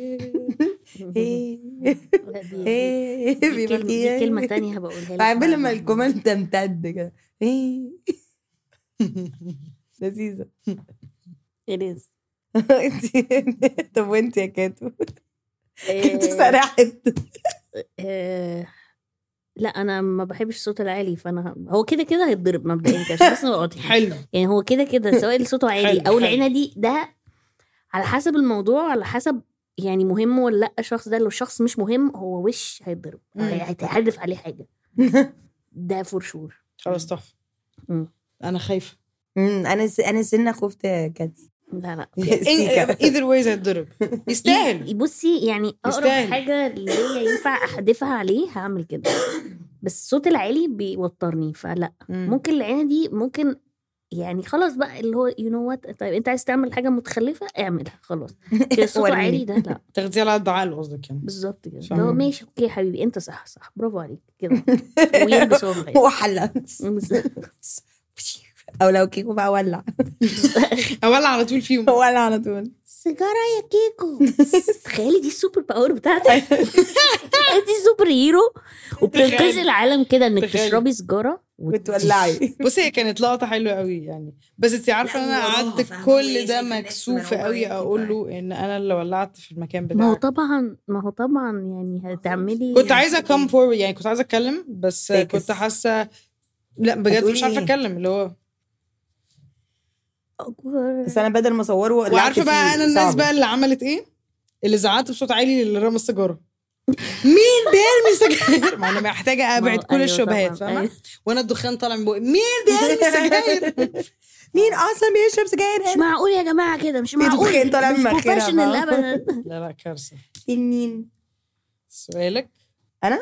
S1: ايه
S2: لا، دي- دي-
S1: ايه
S2: دي
S1: بيبقى
S2: كلمة-
S1: فيه إيه.
S2: دي كلمة تانية هبقولها لك
S1: بحب
S2: بعد
S1: لما الجمل تمتد كده ايه لذيذة
S2: It is.
S1: انت طب وانت يا كاتو كنت
S2: آه،
S1: سرحت
S2: آه، لا انا ما بحبش الصوت العالي فانا هو كده كده هيتضرب مبدئيا كده عشان بس نبقى واضحين.
S3: حلو
S2: يعني هو كده كده سواء اللي صوته عالي
S3: حلو، حلو.
S2: او العنى ده على حسب الموضوع على حسب يعني مهم ولا لا الشخص ده لو شخص مش مهم هو وش هيتضرب
S3: مم.
S2: هي- هيتحدف عليه حاجه ده فور شور
S3: خلاص تحفه
S2: مم.
S3: انا خايفه
S1: أمم، انا س... انا سنة خفت يا كاتو
S2: لا لا إيه،
S1: سيكا.
S3: ايذر ويز هيتضرب يستاهل
S2: ي- بصي يعني اقرب
S3: يستاهل.
S2: حاجه اللي هي ينفع احدفها عليه هعمل كده بس الصوت العالي بيوترني فلا
S3: مم.
S2: ممكن العينه دي ممكن يعني خلاص بقى اللي هو يو نو وات طيب انت عايز تعمل حاجه متخلفه اعملها خلاص كده إيه، صوته
S1: وريني.
S2: عالي ده لا
S3: تاخديها على قد عقله قصدك يعني
S2: بالظبط كده
S3: صح.
S2: اللي هو ماشي اوكي يا حبيبي انت صح صح برافو عليك كده ويلبس هو الغير.
S1: هو حلق
S2: بالظبط.
S1: او لو كيكو بقى ولع
S3: اولع على طول فيهم
S1: ولع على طول
S2: سيجاره يا كيكو تخيلي دي السوبر باور بتاعتك
S3: أيوة.
S2: دي سوبر هيرو وبتنقذي
S3: تخيل.
S2: العالم كده انك
S3: تخيل.
S2: تشربي سيجاره
S1: وتولعي
S3: بصي هي كانت لقطه حلوه قوي يعني بس انت عارفه
S1: لا،
S3: انا
S1: وراها،
S3: قعدت
S1: فاهمة؟
S3: كل
S1: وهي
S3: ده
S1: شايفة الناس
S3: مكسوفه
S1: من
S3: قوي
S1: وراها
S3: اقول
S1: كده.
S3: له ان انا اللي ولعت في المكان
S2: ما هو
S3: بتاعك
S2: طبعا ما هو طبعا يعني هتعملي
S3: كنت عايزه كم فورورد يعني كنت عايزه اتكلم بس
S1: فاكس.
S3: كنت حاسه لا بجد
S1: هتقولي
S3: مش عارفه
S1: إيه؟
S3: اتكلم اللي هو
S1: بس انا بدل ما اصوره وقلعت
S3: وعارفه بقى
S1: فيه،
S3: انا الناس
S1: صعبة.
S3: بقى اللي عملت ايه اللي زعقت بصوت عالي للي رمى السيجاره مين بيرمي سجاير ما انا محتاجه
S2: ما هو-
S3: ابعد كل
S2: أيوة
S3: الشبهات
S2: طبعاً،
S3: فاهمه
S2: أيوة.
S3: وانا الدخان طالع من بوقي مين بيرمي سجاير
S1: مين اصلا بيشرب سجاير
S2: مش
S1: هنا؟
S2: معقول يا جماعه كده مش
S1: في
S2: معقول
S1: دخان طالع من
S2: مش
S1: مناخيرها
S2: بروفيشنال
S1: بقى.
S2: ابدا
S3: لا لا كارثه
S1: في مين
S3: سؤالك
S1: انت
S2: إيه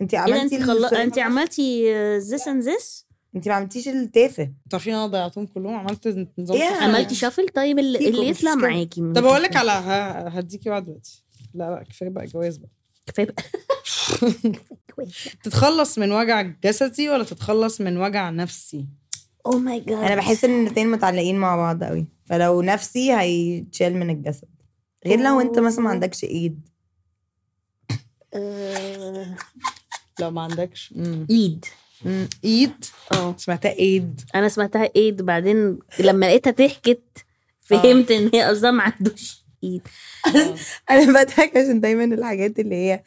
S2: ده، انت
S1: عملتي
S2: خلص
S1: الس-
S2: انت عملتي ذس اند ذس
S1: انت ما عملتيش التافه
S3: تعرفين انا ضيعتهم كلهم عملت نظام
S1: إيه؟
S3: تخيل.
S2: عملتي شافل طيب اللي,
S1: فيكم
S2: اللي يطلع
S1: مشكلة.
S2: معاكي مش
S3: طب اقول لك
S2: مشكلة.
S3: على ه- هديكي بعد دلوقتي لا لا كفايه بقى جواز بقى
S2: كفايه بقى كويس
S3: تتخلص من وجع جسدي ولا تتخلص من وجع نفسي
S1: Oh
S2: او ماي جاد
S1: انا بحس ان الاثنين متعلقين مع بعض قوي فلو نفسي هيتشال من الجسد غير لو انت مثلا ما عندكش ايد
S2: آه،
S3: لو ما عندكش آه. مم.
S2: ايد
S3: مم. ايد
S2: اه
S3: سمعتها ايد
S2: انا سمعتها ايد بعدين لما لقيتها ضحكت فهمت
S1: آه.
S2: ان هي قصدها ما عندوش ايد
S1: انا بضحك عشان دايما الحاجات اللي هي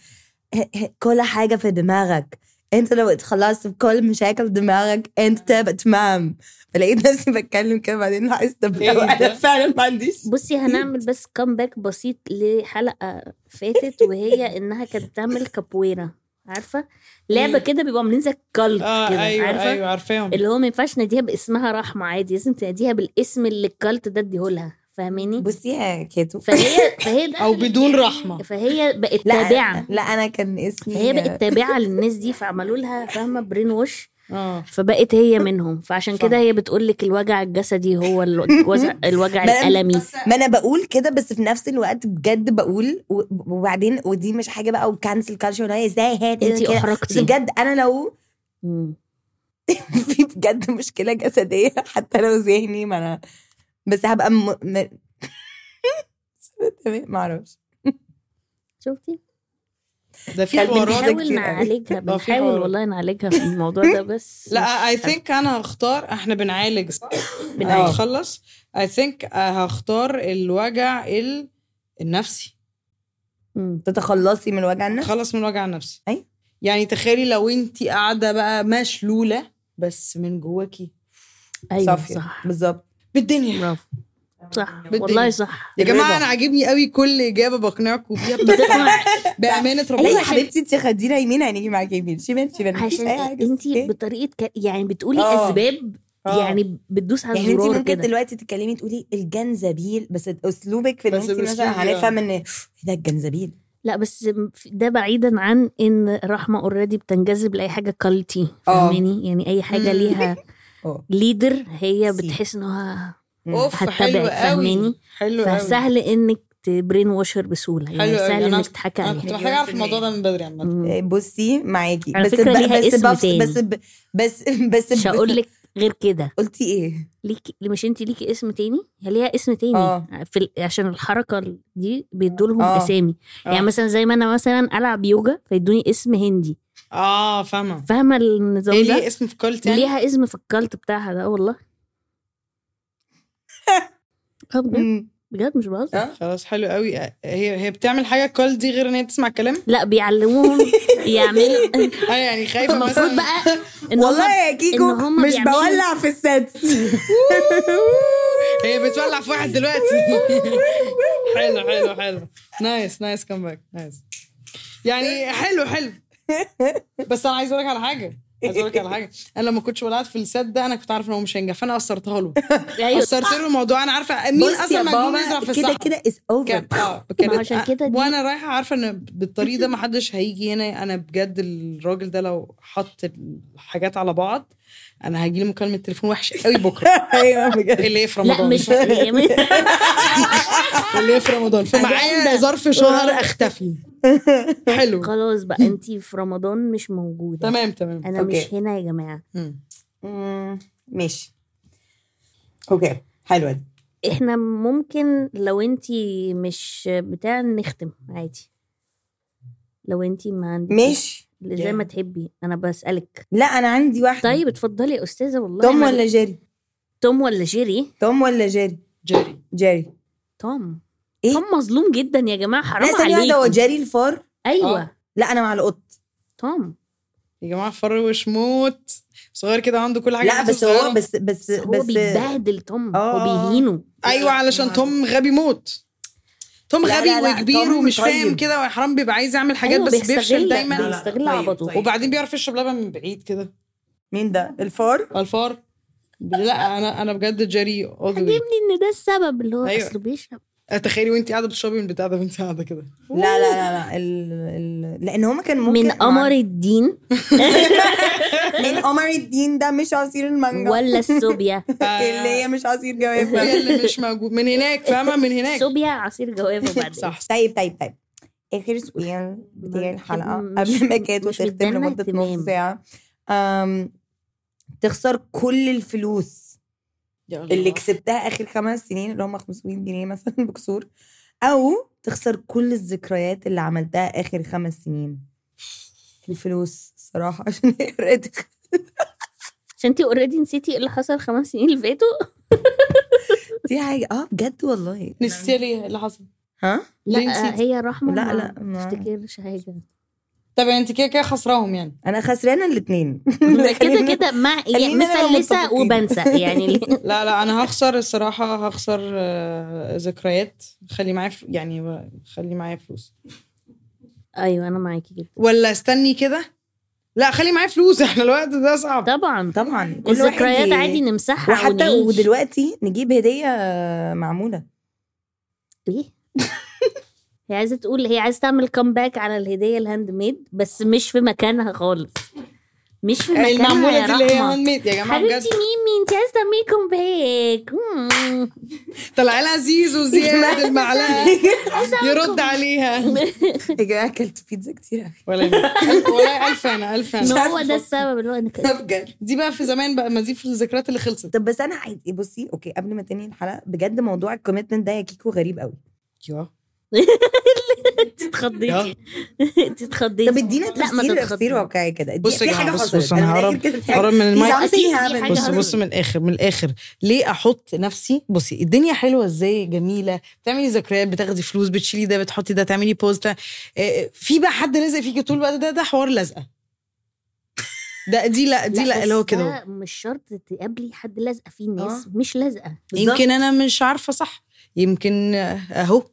S1: كل حاجه في دماغك انت لو اتخلصت بكل مشاكل دماغك انت تبقى تمام فلقيت نفسي بتكلم كده بعدين لاحظت طب
S3: إيه
S1: لو انا
S3: ده؟
S1: فعلا ما عنديش
S2: بصي هنعمل بس كامباك بسيط لحلقه فاتت وهي انها كانت بتعمل كابويرا عارفه لعبه كده بيبقوا عاملين زي الكالت
S1: آه،
S3: اه
S2: كده
S1: أيوة،
S3: ايوه
S2: عارفه
S3: ايوه عارفاهم
S2: اللي هو ما ينفعش ناديها باسمها رحمه عادي لازم تناديها بالاسم اللي الكالت ده اديهولها فاهماني
S1: بصي يا كيتو
S2: فهي فهي
S3: او
S2: دخلت-
S3: بدون رحمه
S2: فهي بقت
S1: لا
S2: تابعه
S1: لا انا كان اسمي
S2: فهي بقت تابعه للناس دي فعملوا لها فاهمه برين ووش
S3: اه
S2: فبقت هي منهم فعشان
S3: فاهم.
S2: كده هي بتقول لك الوجع الجسدي هو الوجع, الوجع
S1: ما-
S2: الالمي
S1: ما انا بقول كده بس في نفس الوقت بجد بقول و- وبعدين ودي مش حاجه بقى وكانسل كالتشر ولا ازاي هات
S2: انت
S1: كده. بس
S2: احرجتي
S1: بجد انا لو
S2: مم.
S1: في بجد مشكله جسديه حتى لو ذهني ما انا بس هبقى م... م... تمام معرفش
S2: شفتي
S3: ده في
S1: كان
S3: حوارات
S1: بنحاول كتير قوي.
S2: بنحاول نعالجها
S3: في
S2: بنحاول
S3: حوارات.
S2: والله نعالجها في الموضوع ده بس
S3: لا اي ثينك انا هختار احنا بنعالج
S2: بنعالج.
S3: هنخلص اي ثينك آه، هختار الوجع ال- النفسي
S2: مم.
S1: تتخلصي من وجع النفس
S3: خلص من وجع النفسي
S1: أي.
S3: يعني تخيلي لو انت قاعده بقى مشلوله بس من جواكي
S2: ايوه
S1: صافية.
S2: صح
S1: بالظبط
S3: بالدنيا
S2: برافو صح
S3: بالدنيا.
S2: والله صح
S3: يا جماعه
S1: بالرضا.
S3: انا عاجبني قوي كل اجابه بقنعكم بيها
S2: بتقنع.
S3: بامانه ربنا
S1: ايوه
S2: أيوة،
S1: يا حبيبتي انت خدينا يمين هنيجي معاك يمين شمال شمال مفيش
S2: عشان
S1: أي حاجة.
S2: انت
S1: أوكي.
S2: بطريقه ك... يعني بتقولي
S1: آه.
S2: اسباب
S3: آه.
S2: يعني بتدوس على
S1: يعني انت
S2: الزرار
S1: ممكن
S2: كده
S1: دلوقتي تتكلمي تقولي الجنزبيل بس اسلوبك في ان
S3: بس
S1: انت
S3: بأسلوبي،
S1: مثلا
S3: آه.
S1: هنفهم ان إيه ده الجنزبيل
S2: لا بس ده بعيدا عن ان رحمه اوريدي بتنجذب لاي حاجه كالتي
S1: آه.
S2: فاهماني يعني اي حاجه
S3: مم.
S2: ليها
S1: اه
S2: ليدر هي
S1: سي.
S2: بتحس انها
S1: مم.
S3: اوف حلو
S2: هتتابعك،
S3: قوي
S2: فاهماني؟
S3: حلو قوي
S2: فسهل انك تبرين ووشر بسهوله يعني
S3: حلو أوي.
S2: سهل
S3: أنا-
S2: انك تحكي
S3: انا كنت
S2: عليها
S3: محتاجه اعرف الموضوع ده من بدري عامه
S2: مم.
S1: آه، بصي معاكي
S2: على
S1: بس
S2: فكرة
S1: ب-
S2: ليها
S1: بس
S2: اسم
S1: بفص-
S2: تاني.
S1: بس ب- بس بس
S2: مش
S1: ب-
S2: هقول لك غير كده
S1: قلتي ايه؟
S2: ليكي مش انت ليكي اسم تاني هي ليها اسم تاني
S1: آه.
S2: في ال... عشان الحركه دي بيدوا لهم
S1: آه.
S2: اسامي
S3: آه.
S2: يعني مثلا زي ما انا مثلا العب يوجا فيدوني اسم هندي
S3: اه فاهمه
S2: فاهمه النظام
S3: ايه
S2: ده
S3: ليه اسم في كل تاني
S2: ليها اسم في الكالت بتاعها ده والله اه بجد
S1: مم.
S2: بجد مش بهزر
S1: آه.
S3: خلاص حلو قوي هي هي بتعمل حاجه كل دي غير ان هي بتسمع الكلام
S2: لا بيعلموهم يعملوا
S3: انا يعني خايفه
S2: المفروض
S3: مثلا
S2: بقى ان
S1: والله
S2: والله
S1: يا كيكو
S2: إن هما
S1: مش
S2: بيعملوا-
S1: بولع في الست
S3: هي بتولع في واحد دلوقتي حلو حلو حلو نايس نايس كم باك نايس يعني حلو حلو بس انا عايز اقول لك على حاجه عايز اقول لك على حاجه انا لما كنتش ولعت في السد ده انا كنت عارفه ان هو مش هينجح فانا قصرتها له
S2: ايوه
S3: قصرت له الموضوع انا عارفه مين
S1: بص يا
S3: اصلا مجنون يزرع في
S1: بابا كده
S3: الصحراء
S1: كده از اوفر
S3: كان
S1: آه.
S3: اه كانت-
S2: ما عشان كده دي-
S3: وانا رايحه عارفه ان بالطريق ده ما حدش هيجي هنا انا بجد الراجل ده لو حط الحاجات على بعض انا هيجي لي مكالمه تليفون وحش قوي بكره
S1: ايوه بجد
S3: إيه اللي هي في
S2: لا
S3: رمضان
S2: مش هتعمل.
S3: اللي هي في رمضان فمعايا
S2: أجندة.
S3: ظرف شهر اختفي حلو
S2: خلاص بقى انت في رمضان مش موجوده
S3: تمام تمام
S2: انا
S1: أوكي.
S2: مش هنا يا جماعه
S3: مم.
S1: مم، ماشي اوكي حلوه دي
S2: احنا ممكن لو انت مش بتاع نختم عادي لو انت ما عندك
S1: ماشي
S2: زي ما تحبي انا بسالك
S1: لا انا عندي واحده
S2: طيب اتفضلي يا استاذه والله
S1: توم
S2: أنا-
S1: ولا جيري
S2: توم ولا جيري
S1: توم ولا جيري
S3: جيري
S1: جيري
S2: توم
S1: إيه؟
S2: توم مظلوم جدا يا جماعه
S1: لا
S2: حرام
S1: ثانيه واحده هو
S2: عليكم
S1: جيري الفار
S2: ايوه
S3: آه.
S1: لا انا مع القط
S2: توم
S3: يا جماعه فروش موت صغير كده عنده كل حاجه
S1: لا
S3: عنده
S1: بس هو
S3: صغيرة.
S1: بس بس
S2: بس هو
S1: بس
S2: بيبهدل توم
S1: آه،
S2: هو
S1: آه.
S2: بيهينه
S3: ايوه علشان توم غبي موت توم
S1: لا،
S3: غبي
S1: لا، لا،
S3: وكبير
S1: توم
S3: ومش فاهم
S1: طيب.
S3: كده وحرام بيبقى عايز يعمل حاجات
S2: أيوة،
S3: بس بيفشل
S2: بيستغل-
S3: دايما
S2: لا، لا. بيستغل عبطه.
S1: طيب.
S3: وبعدين بيعرف يشرب لبن من بعيد كده
S1: مين ده الفار
S3: الفار لا انا انا بجد جاري all the way.
S2: عجبني ان ده السبب اللي هو
S3: أيوة.
S2: اصله بيشرب
S3: تخيلي وانت قاعده بتشربي من البتاع ده وانت قاعده كده
S1: لا لا لا لا ال... ال... لان هما كان ممكن
S2: من قمر الدين
S1: من قمر الدين ده مش عصير المانجا
S2: ولا السوبيا
S1: اللي هي مش عصير
S3: هي
S1: جوافه
S3: اللي مش موجود من هناك فاهمه من هناك
S2: السوبيا عصير جوافه بعد
S3: صح
S1: طيب طيب طيب اخر سؤال بتاع
S2: ما-
S1: الحلقه
S2: مش-
S1: قبل ما كانت
S2: مش
S1: تختم
S2: مدانا
S1: لمده
S2: اهتمام.
S1: نص ساعه أم... تخسر كل الفلوس
S3: يا الله.
S1: اللي كسبتها اخر خمس سنين اللي هم 500 جنيه مثلا بكسور او تخسر كل الذكريات اللي عملتها اخر خمس سنين الفلوس الصراحه عشان هي فرقت.
S2: عشان انت اوريدي نسيتي ايه اللي حصل خمس سنين اللي فاتوا
S1: دي حاجه اه بجد والله
S3: نسيتي ليه اللي حصل
S1: ها
S3: ليه
S2: لا
S3: نسيتي؟
S2: هي رحمه
S1: لا،
S2: ما
S1: لا، ما-
S2: تفتكرش حاجه
S3: طب انت كده كده خسراهم يعني
S1: انا خسرانه الاثنين
S2: كده كده مع يعني
S1: خلينا بقى
S2: مثلثه
S1: متفقين.
S2: وبنسى يعني
S3: لا لا انا هخسر الصراحه هخسر آه، ذكريات خلي معايا ف- يعني خلي معايا فلوس
S2: ايوه انا معاكي جدا
S3: ولا استني كده لا خلي معايا فلوس احنا الوقت ده صعب
S2: طبعا
S1: طبعا كل واحد
S2: الذكريات
S1: ي-
S2: عادي نمسحها
S1: وحتى
S2: ونعيش.
S1: ودلوقتي نجيب هديه معموله
S2: ايه هي عايزه تقول هي عايزه تعمل كومباك على الهديه الهاند ميد بس مش في مكانها خالص مش في مكانها
S3: المعموله إيه، دي اللي هي Oh
S2: هاند
S3: هاند ميد يا جماعه بجد
S2: حبيبتي ميمي انت عايزه تعملي كومباك مم.
S3: طلع لها زيزو زياد المعلقه يرد عليها
S1: يا جماعه اكلت بيتزا كتير قوي
S3: ولا يهمك. ولا الف انا الف
S2: إن
S3: انا
S2: هو ده السبب اللي هو انا كده
S1: بجد
S3: دي بقى في زمان بقى ما دي في الذكريات اللي خلصت
S1: طب بس انا عايز بصي اوكي قبل ما تنهي الحلقه بجد موضوع الكوميتمنت ده يا كيكو غريب قوي
S2: أيوة.
S3: يا
S2: انت
S3: اه.
S2: اتخضيتي انت اتخضيتي
S1: طب ادينا
S2: لا ما
S1: تفسير تفسير
S2: تتخضي
S1: واقعي كده اديني-
S3: بص يا
S1: في
S3: جماعة،
S1: حاجه
S3: بص-
S1: حصلت
S3: بص أنا
S1: من الآخر
S3: هرب-
S1: كده في
S3: هرب من المايك.
S1: في something
S2: أكيد في
S1: happened.
S2: حاجة
S3: بص
S2: هرب.
S3: بص من الاخر من الاخر ليه احط نفسي بصي الدنيا حلوه ازاي جميله بتعملي ذكريات بتاخدي فلوس بتشيلي ده بتحطي ده تعملي بوست في بقى حد لازق فيكي طول الوقت ده ده حوار لازقه ده دي لا دي لا,
S2: بس
S3: اللي هو
S2: ده
S3: كده
S2: مش شرط تقابلي حد لازقه فيه ناس مش لازقه بالظبط.
S3: يمكن انا مش عارفه صح يمكن اهو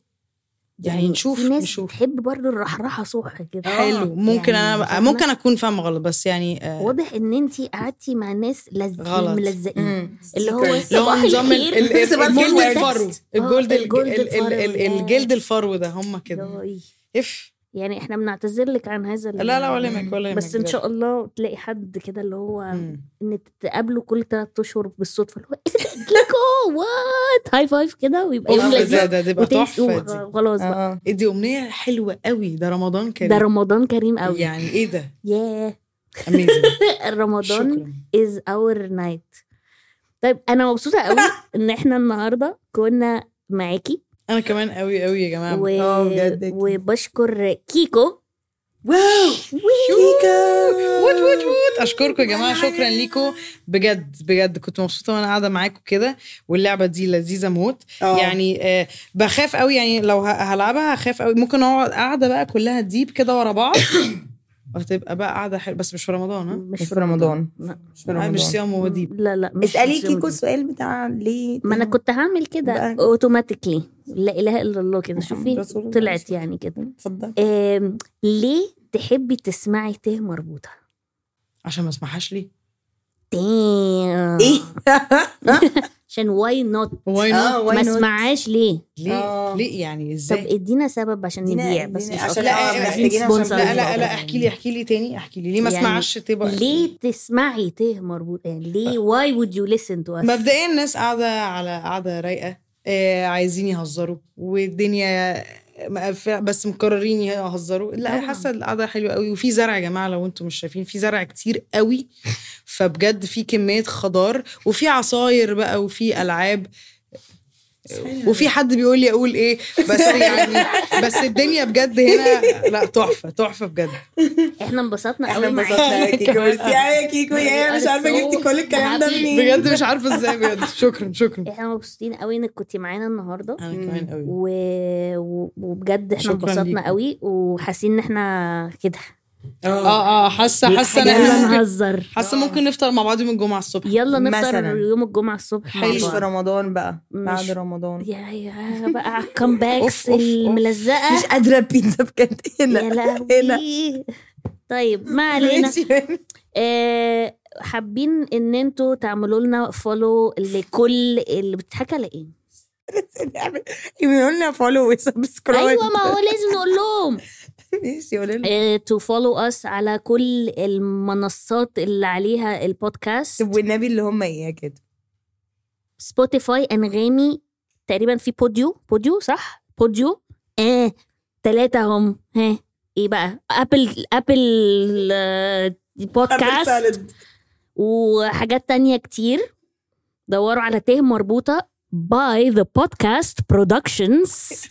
S3: يعني نشوف
S2: في ناس
S3: نشوف
S2: بتحب برضه الرحرحه صح كده
S3: حلو ممكن
S2: يعني
S3: انا
S2: فاهمة؟
S3: ممكن اكون فاهمه غلط بس يعني آه،
S2: واضح ان انت قعدتي مع ناس لز...
S3: غلط.
S2: ملزقين
S1: مم.
S2: اللي هو
S3: اللي هو
S2: صباح
S3: نظام ال-
S2: الخير.
S3: ال- ال-
S2: صباح
S3: الجلد
S2: الخير.
S3: الفرو الجلد
S2: آه، الجلد
S3: الج- ال- ال- ال-
S2: الفرو ده.
S3: الجلد الفرو ده هم كده
S2: ياي.
S3: اف
S2: إيه، يعني احنا بنعتذر لك عن هذا ال-
S3: لا لا ولا يهمك ولا يهمك
S2: بس ان شاء الله تلاقي حد كده اللي هو ان تقابله كل ثلاث اشهر بالصدفه اللي هو إيه ليكو وات هاي فايف كده ويبقى يوم
S1: أوف، ده-
S2: لذيذ
S3: ده تبقى
S2: وتنسي-
S3: تحفه دي
S2: وخ- خلاص بقى
S1: اه
S3: دي امنيه حلوه قوي ده رمضان كريم
S2: ده رمضان كريم قوي
S3: يعني ايه ده
S2: ياه
S3: امazing
S2: رمضان
S3: شكرا
S2: از اور نايت طيب انا مبسوطه قوي ان احنا النهارده كنا معاكي
S3: انا كمان قوي قوي يا جماعه
S2: و...
S1: آه، بجد أكيد.
S2: وبشكر كيكو
S1: واو
S3: وات
S1: كيكا
S3: وات وات اشكركم يا جماعه شكرا ليكم بجد بجد كنت مبسوطه وانا قاعده معاكم كده واللعبه دي لذيذه موت
S1: آه.
S3: يعني آه، بخاف قوي يعني لو ه- هلعبها هخاف قوي ممكن اقعد قاعده بقى كلها ديب كده ورا بعض وهتبقى بقى قاعده حلوه بس آه، مش في رمضان ها
S2: مش
S1: مش في رمضان
S2: لا.
S1: مش في
S3: آه، مش
S1: رمضان
S3: صيام هو ديب
S2: لا لا مش
S1: اسالي
S2: مش يوم
S1: كيكو
S2: دي.
S1: السؤال بتاع ليه
S2: ما انا كنت هعمل كده
S1: بقى-
S2: اوتوماتيكلي لا اله الا الله كده
S1: محمد
S2: شوفي
S1: رسول الله.
S2: طلعت يعني كده
S1: اتفضل
S2: آم، ليه تحبي تسمعي ت مربوطه
S3: عشان ما اسمعهاش ليه
S1: ايه
S2: عشان واي نوت
S3: واي
S1: آه،
S3: نوت
S1: why
S2: ما
S1: not؟
S2: اسمعهاش ليه
S3: ليه
S1: آه.
S3: ليه يعني
S2: طب إيه
S3: ازاي
S2: ادينا سبب عشان
S1: ادينا-
S2: نبيع بس
S1: ادينا-
S2: مش
S1: عشان
S2: أكتر.
S1: آه،
S3: لا
S1: محتاجين
S3: لا
S1: عشان-
S2: sponsor
S3: لا لا,
S2: للموضوع.
S3: لا احكي لي احكي لي تاني احكي لي ليه ما
S2: يعني
S3: اسمعش طيب، تبقى
S2: ليه تسمعي ته مربوط يعني ليه
S1: آه.
S2: واي وود يو ليسن تو اس
S3: مبدئيا الناس قاعده على قاعده رايقه آه عايزين يهزروا والدنيا مقفلة، بس مقررين يهزروا لا
S2: طبعاً.
S3: حاسه القعده حلوه قوي وفي زرع يا جماعه لو انتم مش شايفين في زرع كتير قوي فبجد في كميه خضار وفي عصاير بقى وفي العاب وفي حد بيقول لي اقول ايه بس يعني بس الدنيا بجد هنا لا تحفه تحفه بجد
S2: احنا انبسطنا
S1: احنا
S2: قوي
S1: انبسطنا يا
S2: معاكي
S1: كيكو ميرسي يا كيكو يا مش عارفه جبتي كل الكلام ده منين
S3: بجد مش عارفه ازاي بجد شكرا شكرا
S2: احنا مبسوطين قوي انك كنتي معانا النهارده
S3: انا كمان قوي
S2: و... و- وبجد احنا
S3: شكراً
S2: انبسطنا
S3: ليكم.
S2: قوي وحاسين ان احنا كده
S1: آه،
S3: اه اه حاسه حاسه ان احنا
S2: يلا
S3: ممكن
S2: نهزر
S3: حاسه ممكن نفطر مع بعض يوم الجمعه الصبح
S2: يلا
S1: مثلاً.
S2: نفطر يوم الجمعه الصبح مع
S3: حلو.
S1: مش في
S2: بعض.
S1: رمضان بقى بعد
S2: مش-
S1: رمضان
S2: يا يا بقى على الكامباكس
S3: أوف، أوف، إيه أوف.
S2: الملزقه
S1: مش قادره البيتزا بجد إيه هنا
S2: يا لهوي طيب ما علينا
S1: ماشي.
S2: آه، حابين ان انتوا تعملوا لنا فولو لكل اللي ايه؟ بتتحكى لايه
S1: يعملوا لنا فولو وسبسكرايب
S2: ايوه ما هو لازم نقول لهم آه،
S1: ماشي قولي لنا
S2: تو فولو اس على كل المنصات اللي عليها البودكاست
S1: طب والنبي اللي هم ايه يا كده
S2: سبوتيفاي انغامي تقريبا في بوديو بوديو صح بوديو اه ثلاثه هم ها ايه بقى ابل ابل آه، بودكاست وحاجات تانية كتير دوروا على ته مربوطة by the podcast productions